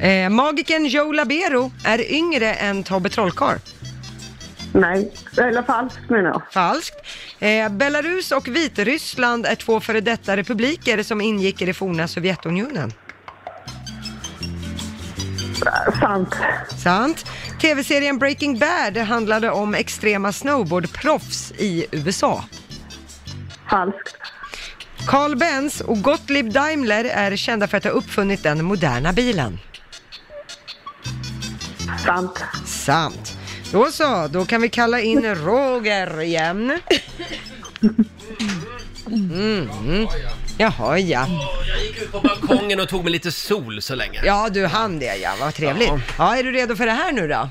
S2: Eh, magiken Joe Labero är yngre än Tobbe Trollkarl.
S9: Nej. Eller falskt menar jag.
S2: Falskt. Eh, Belarus och Vitryssland är två före detta republiker som ingick i det forna Sovjetunionen.
S9: Sant.
S2: Sant. TV-serien Breaking Bad handlade om extrema snowboardproffs i USA.
S9: Falskt.
S2: Carl Benz och Gottlieb Daimler är kända för att ha uppfunnit den moderna bilen.
S9: Sant.
S2: Sant. Då så, då kan vi kalla in Roger igen. Mm. mm. Jaha ja.
S1: Jag gick ut på balkongen och tog mig lite sol så länge. Ja,
S2: Ja du hann det ja, vad trevligt. Ja, är du redo för det här nu då?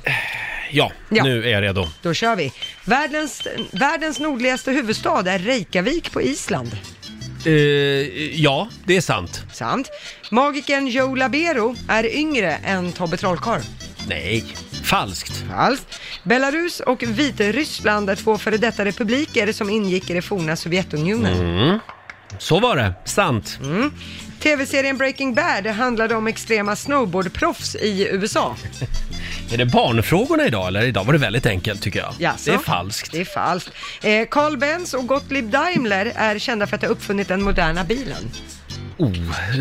S2: Ja.
S1: nu är jag redo.
S2: Då kör vi. Världens, världens nordligaste huvudstad är Reykjavik på Island.
S1: Eh, ja, det är sant.
S2: Sant. Magiken Joe Labero är yngre än Tobbe Trollkarl.
S1: Nej, falskt.
S2: Falskt. Belarus och Vitryssland är två före detta republiker som ingick i det forna Sovjetunionen.
S1: Mm. Så var det, sant.
S2: Mm. TV-serien Breaking Bad handlade om extrema snowboardproffs i USA.
S1: (laughs) Är det barnfrågorna idag eller? Idag var det väldigt enkelt tycker jag.
S2: Jaså?
S1: Det är falskt.
S2: Det är falskt. Eh, Carl Benz och Gottlieb Daimler är kända för att ha uppfunnit den moderna bilen.
S1: Oh,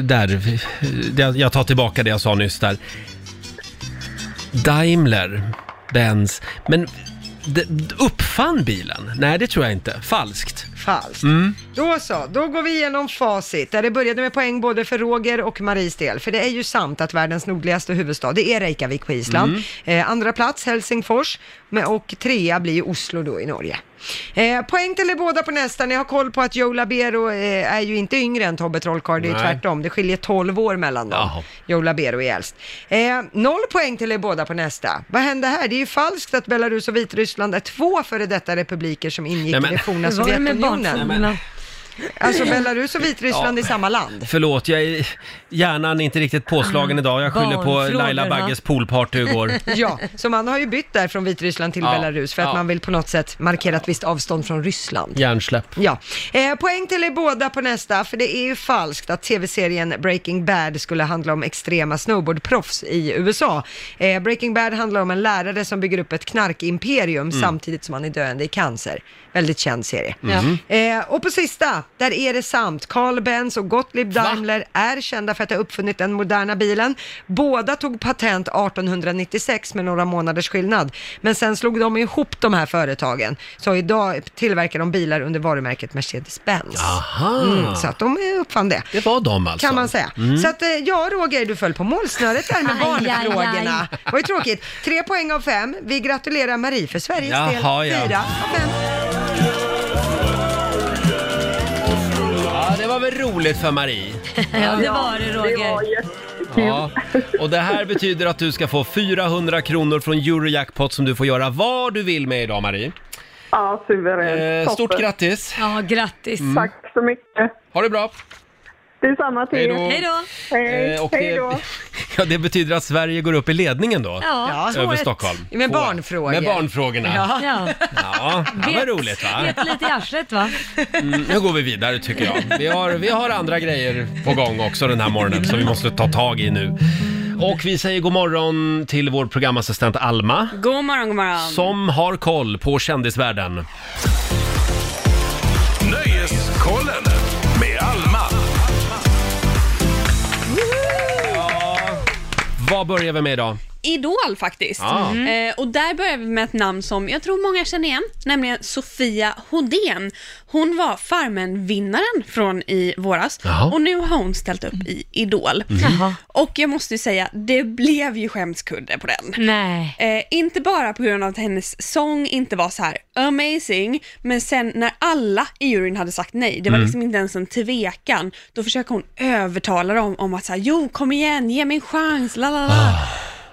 S1: där. jag- Jag tar tillbaka det jag sa nyss där. Daimler, Benz, men d- d- uppfann bilen? Nej, det tror jag inte. Falskt. Mm.
S2: Falskt. Då så, då går vi igenom facit där det började med poäng både för Roger och Maries del. För det är ju sant att världens nordligaste huvudstad, det är Reykjavik på Island.
S1: Mm.
S2: Eh, andra plats Helsingfors men- och trea blir ju Oslo då i Norge. Eh, poäng till er båda på nästa. Ni har koll på att Joe Labero eh, är ju inte yngre än Tobbe Trollkarl, det är ju
S1: Nej.
S2: tvärtom. Det skiljer 12 år mellan dem.
S1: Jaha.
S2: Joe Labero är äldst. Eh, noll poäng till er båda på nästa. Vad hände här? Det är ju falskt att Belarus och Vitryssland är två före detta republiker som ingick
S1: Nej, men-
S2: i det forna
S4: Hur var det med
S2: Sovjetunionen.
S4: barnfrågorna?
S2: Alltså Belarus och Vitryssland i samma land.
S1: Förlåt, jag är, hjärnan är inte riktigt påslagen idag. Jag skyller på
S4: barnfrågor,
S1: Laila
S4: va?
S1: Bagges poolparty igår.
S2: (laughs) Ja, så man har ju bytt där från Vitryssland till
S1: Ja,
S2: Belarus för att
S1: ja.
S2: man vill på något sätt markera ett visst avstånd från Ryssland.
S1: Hjärnsläpp.
S2: Ja, eh, poäng till er båda på nästa, för det är ju falskt att tv-serien Breaking Bad skulle handla om extrema snowboardproffs i USA. Eh, Breaking Bad handlar om en lärare som bygger upp ett knarkimperium
S1: Mm.
S2: samtidigt som han är döende i cancer. Väldigt känd serie.
S1: Mhm.
S2: Eh, och på sista, där är det sant. Carl Benz och Gottlieb Daimler är kända för att ha uppfunnit den moderna bilen. Båda tog patent 1896 med några månaders skillnad. Men sen slog de ihop de här företagen. Så idag tillverkar de bilar under varumärket Mercedes-Benz.
S1: Aha.
S2: Mm, så att de eh, uppfann det.
S1: Det var de alltså.
S2: Kan man säga. Så att, eh, ja Roger, du föll på målsnöret där med
S4: Aj, aj,
S2: barnfrågorna. Det var ju tråkigt. Tre poäng av fem. Vi gratulerar Marie för Sveriges
S1: Jaha,
S2: del.
S1: ja.
S2: Fyra av fem.
S1: Ja, det var väl roligt för Marie.
S4: Ja, det var det Roger.
S1: Ja. Och det här betyder att du ska få 400 kronor från Eurojackpot som du får göra vad du vill med idag Marie.
S9: Ja, suveränt.
S1: Eh, stort
S9: Toppen.
S1: grattis! Mm.
S4: Ja, grattis.
S9: Tack så mycket.
S1: Ha det bra!
S9: Detsamma till
S1: Hej
S9: er.
S1: då.
S4: Hej då.
S9: Hej,
S1: Eh, och
S9: hej
S1: det,
S9: då.
S1: ja, det betyder att Sverige går upp i ledningen då.
S4: Ja.
S1: Över
S2: 2-1.
S1: Stockholm.
S2: Med
S1: Två.
S2: barnfrågor.
S1: Med barnfrågorna. Ja,
S4: Ja.
S1: det var roligt va?
S4: Vet lite i arslet va?
S1: Mm, nu går vi vidare tycker jag. Vi har, vi har andra grejer på gång också den här morgonen som vi måste ta tag i nu. Och vi säger god morgon till vår programassistent Alma
S11: God morgon, god morgon.
S1: som har koll på kändisvärlden.
S8: Nöjeskollen med Alma.
S1: Vad börjar vi med idag?
S11: Idol faktiskt.
S1: Ah.
S11: Eh, och där börjar vi med ett namn som jag tror många känner igen, nämligen Sofia Hodén. Hon var Farmen-vinnaren från i våras
S1: Jaha. Mm.
S11: och nu har hon ställt upp i Idol. Och jag måste ju säga, det blev ju skämskudde på den.
S4: Nej.
S11: Eh, inte bara på grund av att hennes sång inte var så här amazing, men sen när alla i juryn hade sagt nej,
S1: Mm.
S11: det var liksom inte ens en tvekan, då försöker hon övertala dem om att så här, jo kom igen, ge mig en chans, la la
S1: Ah.
S11: la.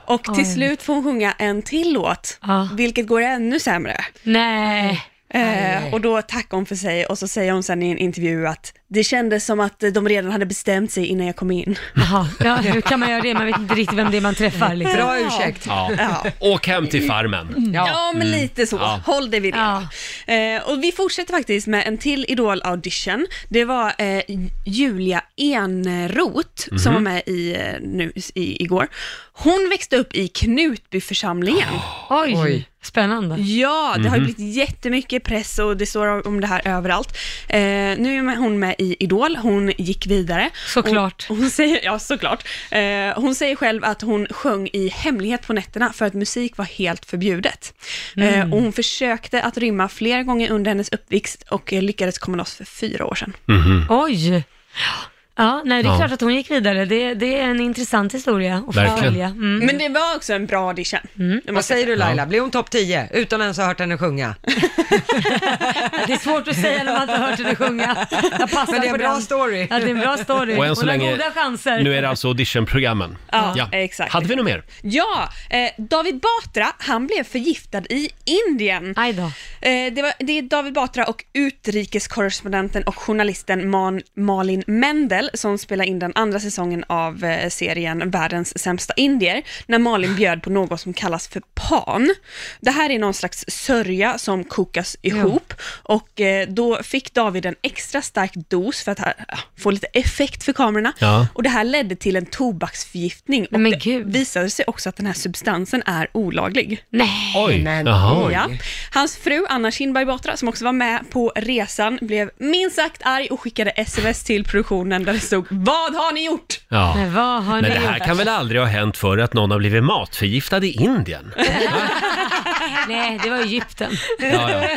S11: Och till
S4: Oj.
S11: slut får hon sjunga en till låt,
S4: Ja.
S11: vilket går ännu sämre.
S4: Nej.
S11: Eh, och då tackar hon för sig och så säger hon sen i en intervju att det kändes som att eh, de redan hade bestämt sig innan jag kom in.
S4: Jaha.
S11: (laughs)
S4: Ja, hur kan man göra det? Man vet inte riktigt vem det är man träffar. Liksom.
S2: Bra ursäkt.
S1: Ja.
S11: Ja.
S1: Åk hem till farmen.
S11: Mm. Ja, men lite så.
S1: Ja.
S11: Håll dig vid det.
S4: Ja.
S11: Eh, och vi fortsätter faktiskt med en till Idol-audition. Det var eh, Julia Enroth som var med i, eh, nu, i, igår. Hon växte upp i Knutbyförsamlingen.
S4: (gasps) Oj.
S2: Oj.
S4: Spännande.
S11: Ja, det har ju blivit jättemycket press och det står om det här överallt. Eh, nu är hon med i Idol, hon gick vidare.
S4: Såklart.
S11: Hon, hon säger, ja, såklart. Eh, hon säger själv att hon sjöng i hemlighet på nätterna för att musik var helt förbjudet. Eh,
S4: Mm.
S11: och hon försökte att rymma flera gånger under hennes uppväxt och eh, lyckades komma loss för fyra år sedan.
S4: Oj. Ja, nej, det
S1: Mhm.
S4: är
S1: Ja.
S4: klart att hon gick vidare. Det, det är en intressant historia att
S1: Verkligen.
S4: följa. Mm.
S11: Men det var också en bra audition. Det
S2: Vad
S11: måste jag
S2: säger du Laila, blir hon topp 10 utan ens ha hört henne sjunga?
S4: Det är svårt att säga när man inte har hört henne sjunga. Jag passar
S2: Men det är
S4: på
S2: en bra
S4: den.
S2: story.
S4: Ja, det är en bra story.
S1: Och än så
S4: Hon
S1: länge-
S4: har goda chanser.
S1: Nu är det alltså auditionprogrammen.
S11: Ja, exakt.
S1: Hade vi något mer?
S11: Ja, eh, David Batra, han blev förgiftad i Indien.
S4: Aj då.
S11: Eh, det, var, det är David Batra och utrikeskorrespondenten och journalisten Man, Malin Mendel Israel som spelar in den andra säsongen av eh, serien Världens sämsta indier, när Malin bjöd på något som kallas för pan. Det här är någon slags sörja som kokas ihop och eh, då fick David en extra stark dos för att ha- få lite effekt för kamerorna.
S1: Ja.
S11: Och det här ledde till en tobaksförgiftning och
S4: Men
S11: det visade sig också att den här substansen är olaglig.
S4: Nej!
S1: Oj, Men jaha. oj.
S11: Ja. Hans fru Anna Kinberg Batra, som också var med på resan, blev minst sagt arg och skickade sms till produktionen där det stod “Vad har ni gjort?”
S1: Ja.
S4: Men vad har
S1: Men
S4: ni
S1: det här
S4: gjort?
S1: kan väl aldrig ha hänt förr att någon har blivit matförgiftad i Indien?
S4: Nej, det var Egypten.
S1: Ja, ja.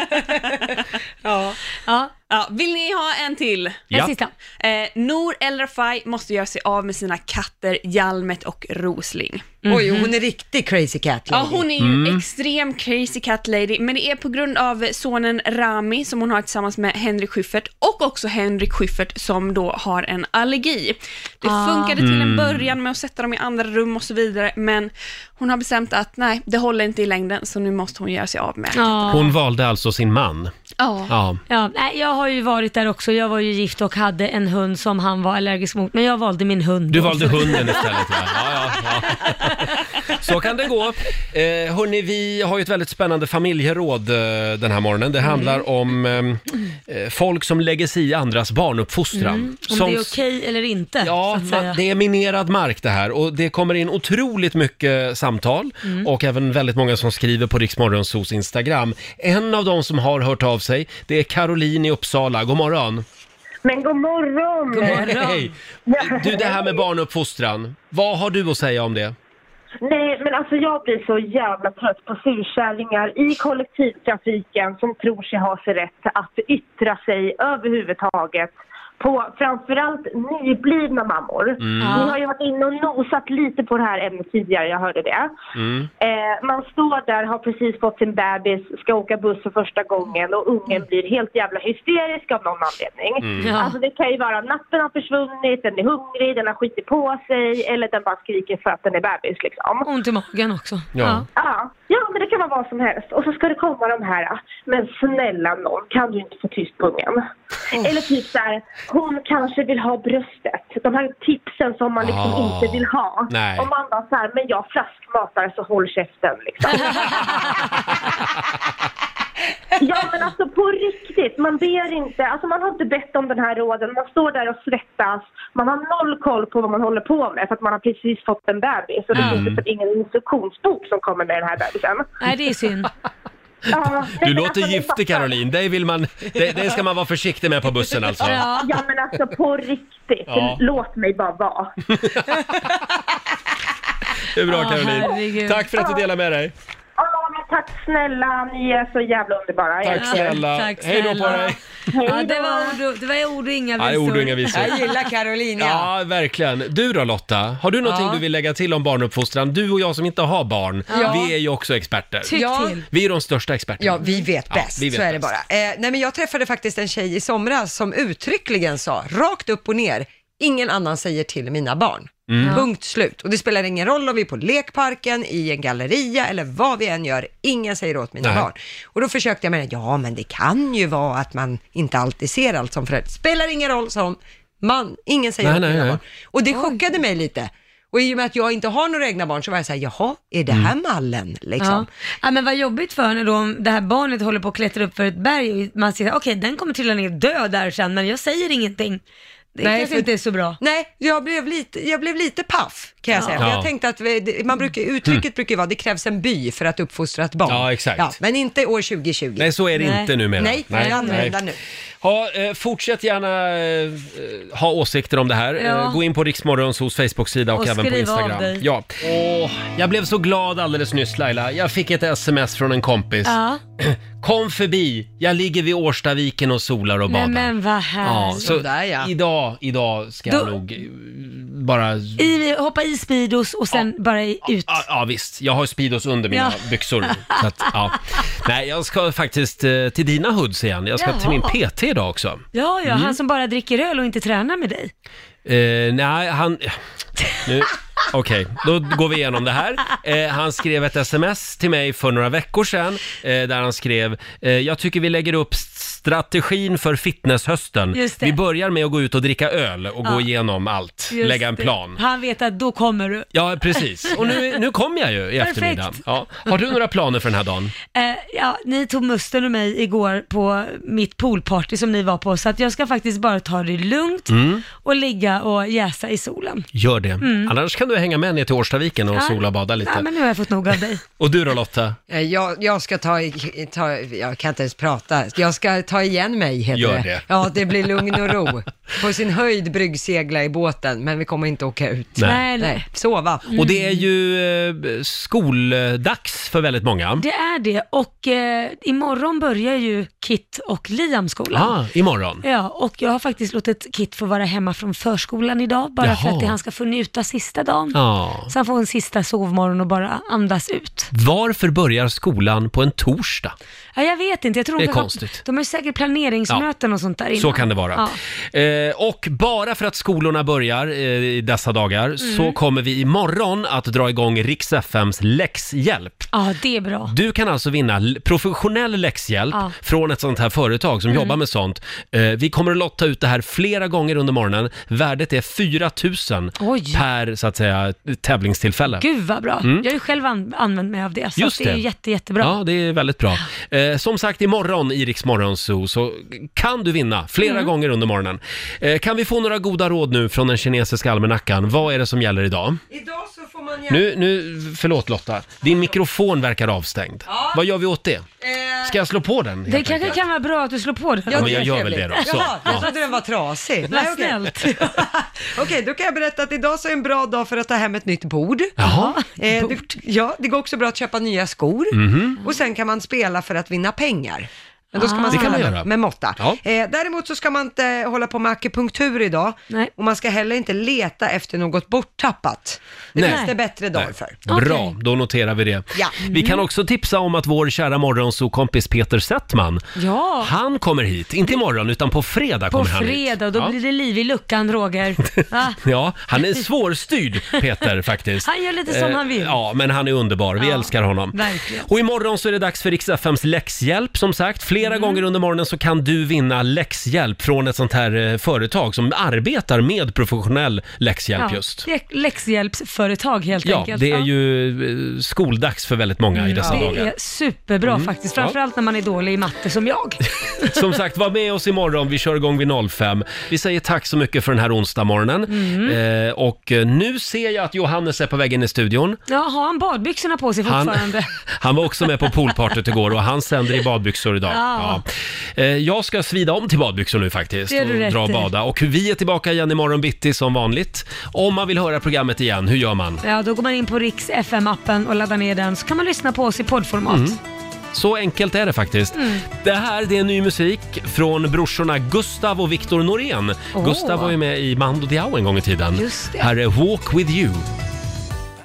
S11: (laughs) Ja.
S4: Ja,
S11: Ja, vill ni ha en till?
S4: en
S1: Ja.
S4: sista.
S11: Eh, Nor El Rafai måste göra sig av med sina katter Hjalmet och Rosling.
S4: Mhm.
S2: Oj, hon är riktig crazy cat lady.
S11: Mhm. Ja, hon är ju
S2: Mm.
S11: extrem crazy cat lady, men det är på grund av sonen Rami som hon har tillsammans med Henrik Schyffert och också Henrik Schyffert som då har en allergi. Det
S4: Ah.
S11: funkade till en början med att sätta dem i andra rum och så vidare, men hon har bestämt att nej, det håller inte i längden, så nu måste hon göra sig av med.
S2: Ah.
S4: Ja.
S1: Hon valde alltså sin man.
S11: Ja.
S1: Ja.
S4: Ja, nej, jag har ju varit där också. Jag var ju gift och hade en hund som han var allergisk mot, men jag valde min hund.
S1: Du
S4: då.
S1: valde hunden istället ja. Ja, ja, ja. Så kan det gå. Eh, hörni, vi har ju ett väldigt spännande familjeråd eh, den här morgonen. Det
S4: Mm.
S1: handlar om eh, eh, folk som lägger sig i andras barnuppfostran.
S4: Mm. Om
S1: Som-
S4: det är okej eller inte,
S1: Ja,
S4: så att säga.
S1: man, det är minerad mark det här och det kommer in otroligt mycket samtal
S4: Mm.
S1: och även väldigt många som skriver på Riksmorgonsos Instagram. En av de som har hört av sig, det är Caroline i Uppsala. God morgon!
S13: Men god morgon!
S1: Hej! Du, det här med barnuppfostran. Vad har du att säga om det?
S13: Nej, men alltså jag blir så jävla trött på surkärringar i kollektivtrafiken som tror sig ha sig rätt att yttra sig överhuvudtaget på framförallt nyblivna mammor. Ni har ju varit inne och nosat lite på det här ämnet tidigare, jag hörde det.
S1: Mm.
S13: Eh, man står där, har precis fått sin bebis, ska åka buss för första gången och ungen blir helt jävla hysterisk av någon anledning.
S4: Ja.
S13: Alltså det kan ju vara natten har försvunnit, den är hungrig, den har skitit på sig eller den bara skriker för att den är bebis liksom.
S4: Ont i magen också.
S1: Ja.
S13: Ja, ja, men det kan vara vad som helst. Och så ska det komma de här, äh, men snälla någon, kan du inte få tyst på ungen? Eller typ så här, hon kanske vill ha bröstet. De här tipsen som man liksom
S1: Ah,
S13: inte vill ha.
S1: nej.
S13: Och man bara så här, men jag flaskmatar så håll käften liksom. Ja men alltså på riktigt, man ber inte, alltså man har inte bett om den här råden, man står där och svettas, man har noll koll på vad man håller på med för att man har precis fått en bebis och det
S1: Mm.
S13: finns typ ingen instruktionsbok som kommer med den här bebisen.
S4: Nej, det är synd.
S13: Ja, nej,
S1: Du
S13: men
S1: låter
S13: alltså, ni
S1: giftig
S13: fattar.
S1: Caroline, det, vill man, det, det ska man vara försiktig med på bussen alltså.
S4: Ja.
S13: Ja men alltså på riktigt,
S1: Ja.
S13: låt mig bara vara.
S1: Det är bra
S4: Åh,
S1: Caroline.
S4: herregud.
S1: Tack för att du delar med dig.
S13: Ja, men tack snälla, ni är så jävla underbara. Jag
S1: Tack
S13: älskar er.
S1: snälla.
S4: tack
S1: Hej då på
S4: snälla.
S1: dig.
S4: Ja, det var ord och, det var ord och inga
S1: Nej, ord och inga visor.
S2: Jag gillar Carolina.
S1: Ja, verkligen. Du då Lotta, har du någonting
S2: Ja.
S1: du vill lägga till om barnuppfostran? Du och jag som inte har barn,
S2: Ja.
S1: vi är ju också experter.
S4: Tyck
S2: Ja.
S4: till.
S1: Vi är de största experterna.
S2: Ja, vi vet bäst.
S1: vi vet
S2: så är det
S1: bäst.
S2: bara. Eh, nej, men jag träffade faktiskt en tjej i somras som uttryckligen sa, rakt upp och ner, ingen annan säger till mina barn.
S1: Mm.
S2: Punkt slut. Och det spelar ingen roll om vi är på lekparken, i en galleria eller vad vi än gör, ingen säger åt mina
S1: Nej.
S2: barn. Och då försökte jag med det, ja men det kan ju vara att man inte alltid ser allt som förälder. Spelar ingen roll, sa hon. Man, ingen säger
S1: Nej,
S2: åt
S1: nej,
S2: mina
S1: nej.
S2: barn. Och det chockade mig lite. Och i och med att jag inte har några egna barn så var jag så här, jaha, är det
S1: Mm.
S2: här mallen liksom?
S4: Ja. ja, men vad jobbigt för henne då om det här barnet håller på att klättra upp för ett berg och man ser, okej den kommer trilla ner och dö där sen, men jag säger ingenting. Det
S2: Nej,
S4: kanske
S2: för-
S4: inte är så bra.
S2: Nej, jag blev lite, jag blev lite paff kan jag säga. För
S1: Ja. Mm.
S2: Jag tänkte att vi, det- man brukar, uttrycket brukar ju vara det krävs en by för att uppfostra ett barn.
S1: Ja, exakt.
S2: men inte år 2020.
S1: Nej, så är det
S4: Nej.
S1: inte numera.
S2: Nej, kan jag använda nu.
S1: Ha, eh, fortsätt gärna eh, ha åsikter om det här.
S4: Ja.
S1: Eh, gå in på Riksmorgons hos Facebook-sida och,
S4: Och
S1: även på
S4: skriv av
S1: Instagram.
S4: dig.
S1: Ja. Åh, jag blev så glad alldeles nyss Laila. Jag fick ett sms från en kompis.
S4: Ja,
S1: Kom förbi, jag ligger vid Årstaviken och solar och badar.
S4: nej men vad
S1: Ja,
S4: härligt.
S1: så
S2: Sådär, ja.
S1: idag, idag ska
S4: Då-
S1: jag nog eh, bara...
S4: I, hoppa i Speedos och sen bara i- ut.
S1: Ja, ja visst, jag har Speedos under mina
S4: Ja. (laughs)
S1: byxor. Så att, ja. Nej, jag ska faktiskt eh, till dina hoods igen. Jag ska
S4: Jaha.
S1: till min PT idag också.
S4: Ja,
S1: Mm.
S4: ja, han som bara dricker öl och inte tränar med dig.
S1: Eh, nej, han... Nu, Okej, då går vi igenom det här. Eh, han skrev ett sms till mig för några veckor sedan eh, där han skrev eh, “Jag tycker vi lägger upp st- strategin för fitnesshösten.
S4: Just det.
S1: Vi börjar med att gå ut och dricka öl och gå
S4: Ja.
S1: igenom allt,
S4: Just
S1: lägga en
S4: det.
S1: plan.”
S4: Han vet att då kommer du.
S1: Ja, precis. Och
S4: (laughs)
S1: nu, nu kommer jag ju i
S4: Perfekt.
S1: eftermiddag. Ja. Har du några planer för den här dagen?
S4: Eh, ja, ni tog musten och mig igår på mitt poolparty som ni var på, så att jag ska faktiskt bara ta det lugnt
S1: Mm.
S4: och ligga och jäsa i solen.
S1: Gör det.
S4: Mm.
S1: Annars kan du hänga med ner till Årstaviken och
S4: Ja.
S1: sola och bada
S4: Ja,
S1: lite.
S4: men nu har jag fått nog av
S2: (laughs)
S4: dig.
S1: Och du då Lotta?
S12: Eh, Jag, jag ska ta, i- ta, jag kan inte ens prata, jag ska ta igen mig heter
S1: Gör
S12: det.
S1: det.
S12: Ja, det blir lugn och ro. På sin höjd bryggsegla i båten, men vi kommer inte åka ut.
S1: Nej. Nej, nej.
S12: Sova.
S4: Mm.
S1: Och det är ju eh, skoldags för väldigt många.
S4: Det är det och eh, imorgon börjar ju Kit och Liam skolan.
S1: Ah, imorgon.
S4: Ja, och jag har faktiskt låtit Kit få vara hemma från förskolan idag, bara för
S1: Jaha.
S4: att det, han ska få njuta sista dagen.
S1: Ja.
S4: Så han får en sista sovmorgon och bara andas ut.
S1: Varför börjar skolan på en torsdag?
S4: Ja, jag vet inte, jag tror
S1: Det är
S4: de, kanske-
S1: konstigt.
S4: de har ju säkert planeringsmöten och sånt där innan.
S1: Så kan det vara.
S4: Ja.
S1: Eh, och bara för att skolorna börjar eh, i dessa dagar
S4: Mm.
S1: så kommer vi imorgon att dra igång Rix FMs läxhjälp.
S4: ja, det är bra.
S1: Du kan alltså vinna l- professionell läxhjälp
S4: Ja.
S1: från ett sånt här företag som
S4: Mm.
S1: jobbar med sånt. Eh, vi kommer att lotta ut det här flera gånger under morgonen. Värdet är 4 000
S4: Oj.
S1: per så att säga, tävlingstillfälle.
S4: Gud vad bra.
S1: Mm.
S4: Jag har ju själv an- använt mig av det, så
S1: Just
S4: att det är
S1: det.
S4: ju jätte, jättebra.
S1: Ja, det är väldigt bra. Eh, som sagt, imorgon i Rix Morgon Zoo så kan du vinna flera
S4: Mm.
S1: gånger under morgonen. Eh, kan vi få några goda råd nu från den kinesiska almanackan? Vad är det som gäller idag?
S12: Idag så får man
S1: Nu, nu, förlåt Lotta, din mikrofon verkar avstängd.
S4: Ja.
S1: Vad gör vi åt det?
S12: Eh,
S1: Ska jag slå på den?
S4: Det
S1: helt
S4: kanske
S1: enkelt?
S4: kan vara bra att du slår på Alltså, den.
S1: Ja, men jag gör väl
S4: (laughs)
S1: det då. Så,
S12: Jaha,
S1: ja.
S12: jag trodde den var trasig.
S4: Vad
S12: Nej, okej.
S4: snällt.
S12: (laughs) Okej, då kan jag berätta att idag så är en bra dag för att ta hem ett nytt bord.
S1: Jaha.
S12: Eh, det, ja, det går också bra att köpa nya skor.
S1: Mhm.
S12: Och sen kan man spela för att vinna pengar. Men då ska
S1: Ah.
S12: man
S1: Det kan
S12: spela
S1: man göra.
S12: med, med måtta.
S1: Ja.
S12: Eh, däremot så ska man inte hålla på med akupunktur idag.
S4: Nej.
S12: Och man ska heller inte leta efter något borttappat. Det
S1: Nej.
S12: finns det bättre dagar för.
S1: Nej. Bra, då noterar vi det.
S12: Ja.
S1: Vi
S4: Mm.
S1: kan också tipsa om att vår kära morgonsokompis Peter Settman,
S4: Ja,
S1: han kommer hit, inte imorgon utan på fredag
S4: på
S1: kommer han hit.
S4: fredag, då
S1: Ja.
S4: blir det liv i
S1: (laughs)
S4: luckan Roger. Va?
S1: Ja, han är svårstyrd,
S4: (laughs)
S1: Peter, faktiskt.
S4: Han gör lite som
S1: Eh,
S4: han vill.
S1: Ja, men han är underbar. Vi
S4: Ja,
S1: älskar honom.
S4: verkligen.
S1: Och imorgon så är det dags för Rix FMs läxhjälp, som sagt. Flera
S4: Mm.
S1: gånger under morgonen så kan du vinna läxhjälp från ett sånt här eh, företag som arbetar med professionell läxhjälp
S4: Ja,
S1: just.
S4: det är läxhjälpsföretag helt
S1: Ja,
S4: enkelt.
S1: det är
S4: Ja. Mm,
S1: ju eh, skoldags för väldigt många i dessa
S4: det
S1: dagar. Mm.
S4: är superbra faktiskt, framförallt när man är dålig i matte som jag.
S1: Som sagt, var med oss imorgon. Vi kör igång vid 05. Vi säger tack så mycket för den här onsdagmorgonen.
S4: Mm.
S1: Eh, och eh, nu ser jag att Johannes är på väg in i studion.
S4: (laughs) Ja, har han badbyxorna på sig
S1: Han,
S4: fortfarande?
S1: han var också med på poolpartyt igår och han sänder i badbyxor idag.
S4: Ja.
S1: Ja. Eh, Jag ska svida om till badbyxor nu faktiskt
S4: Det är
S1: och
S4: du rätt
S1: dra och
S4: i.
S1: bada. Och vi är tillbaka igen imorgon bitti som vanligt. Om man vill höra programmet igen, hur gör man?
S4: Ja, då går man in på Riks FM-appen och laddar ner den, så kan man lyssna på oss i poddformat.
S1: Mm. Så enkelt är det faktiskt.
S4: Mm.
S1: Det här det är ny musik från brorsorna Gustav och Viktor Norén.
S4: Åh.
S1: Gustav var ju med i Mando Diao en gång i tiden.
S4: Just det.
S1: Här är Walk With You.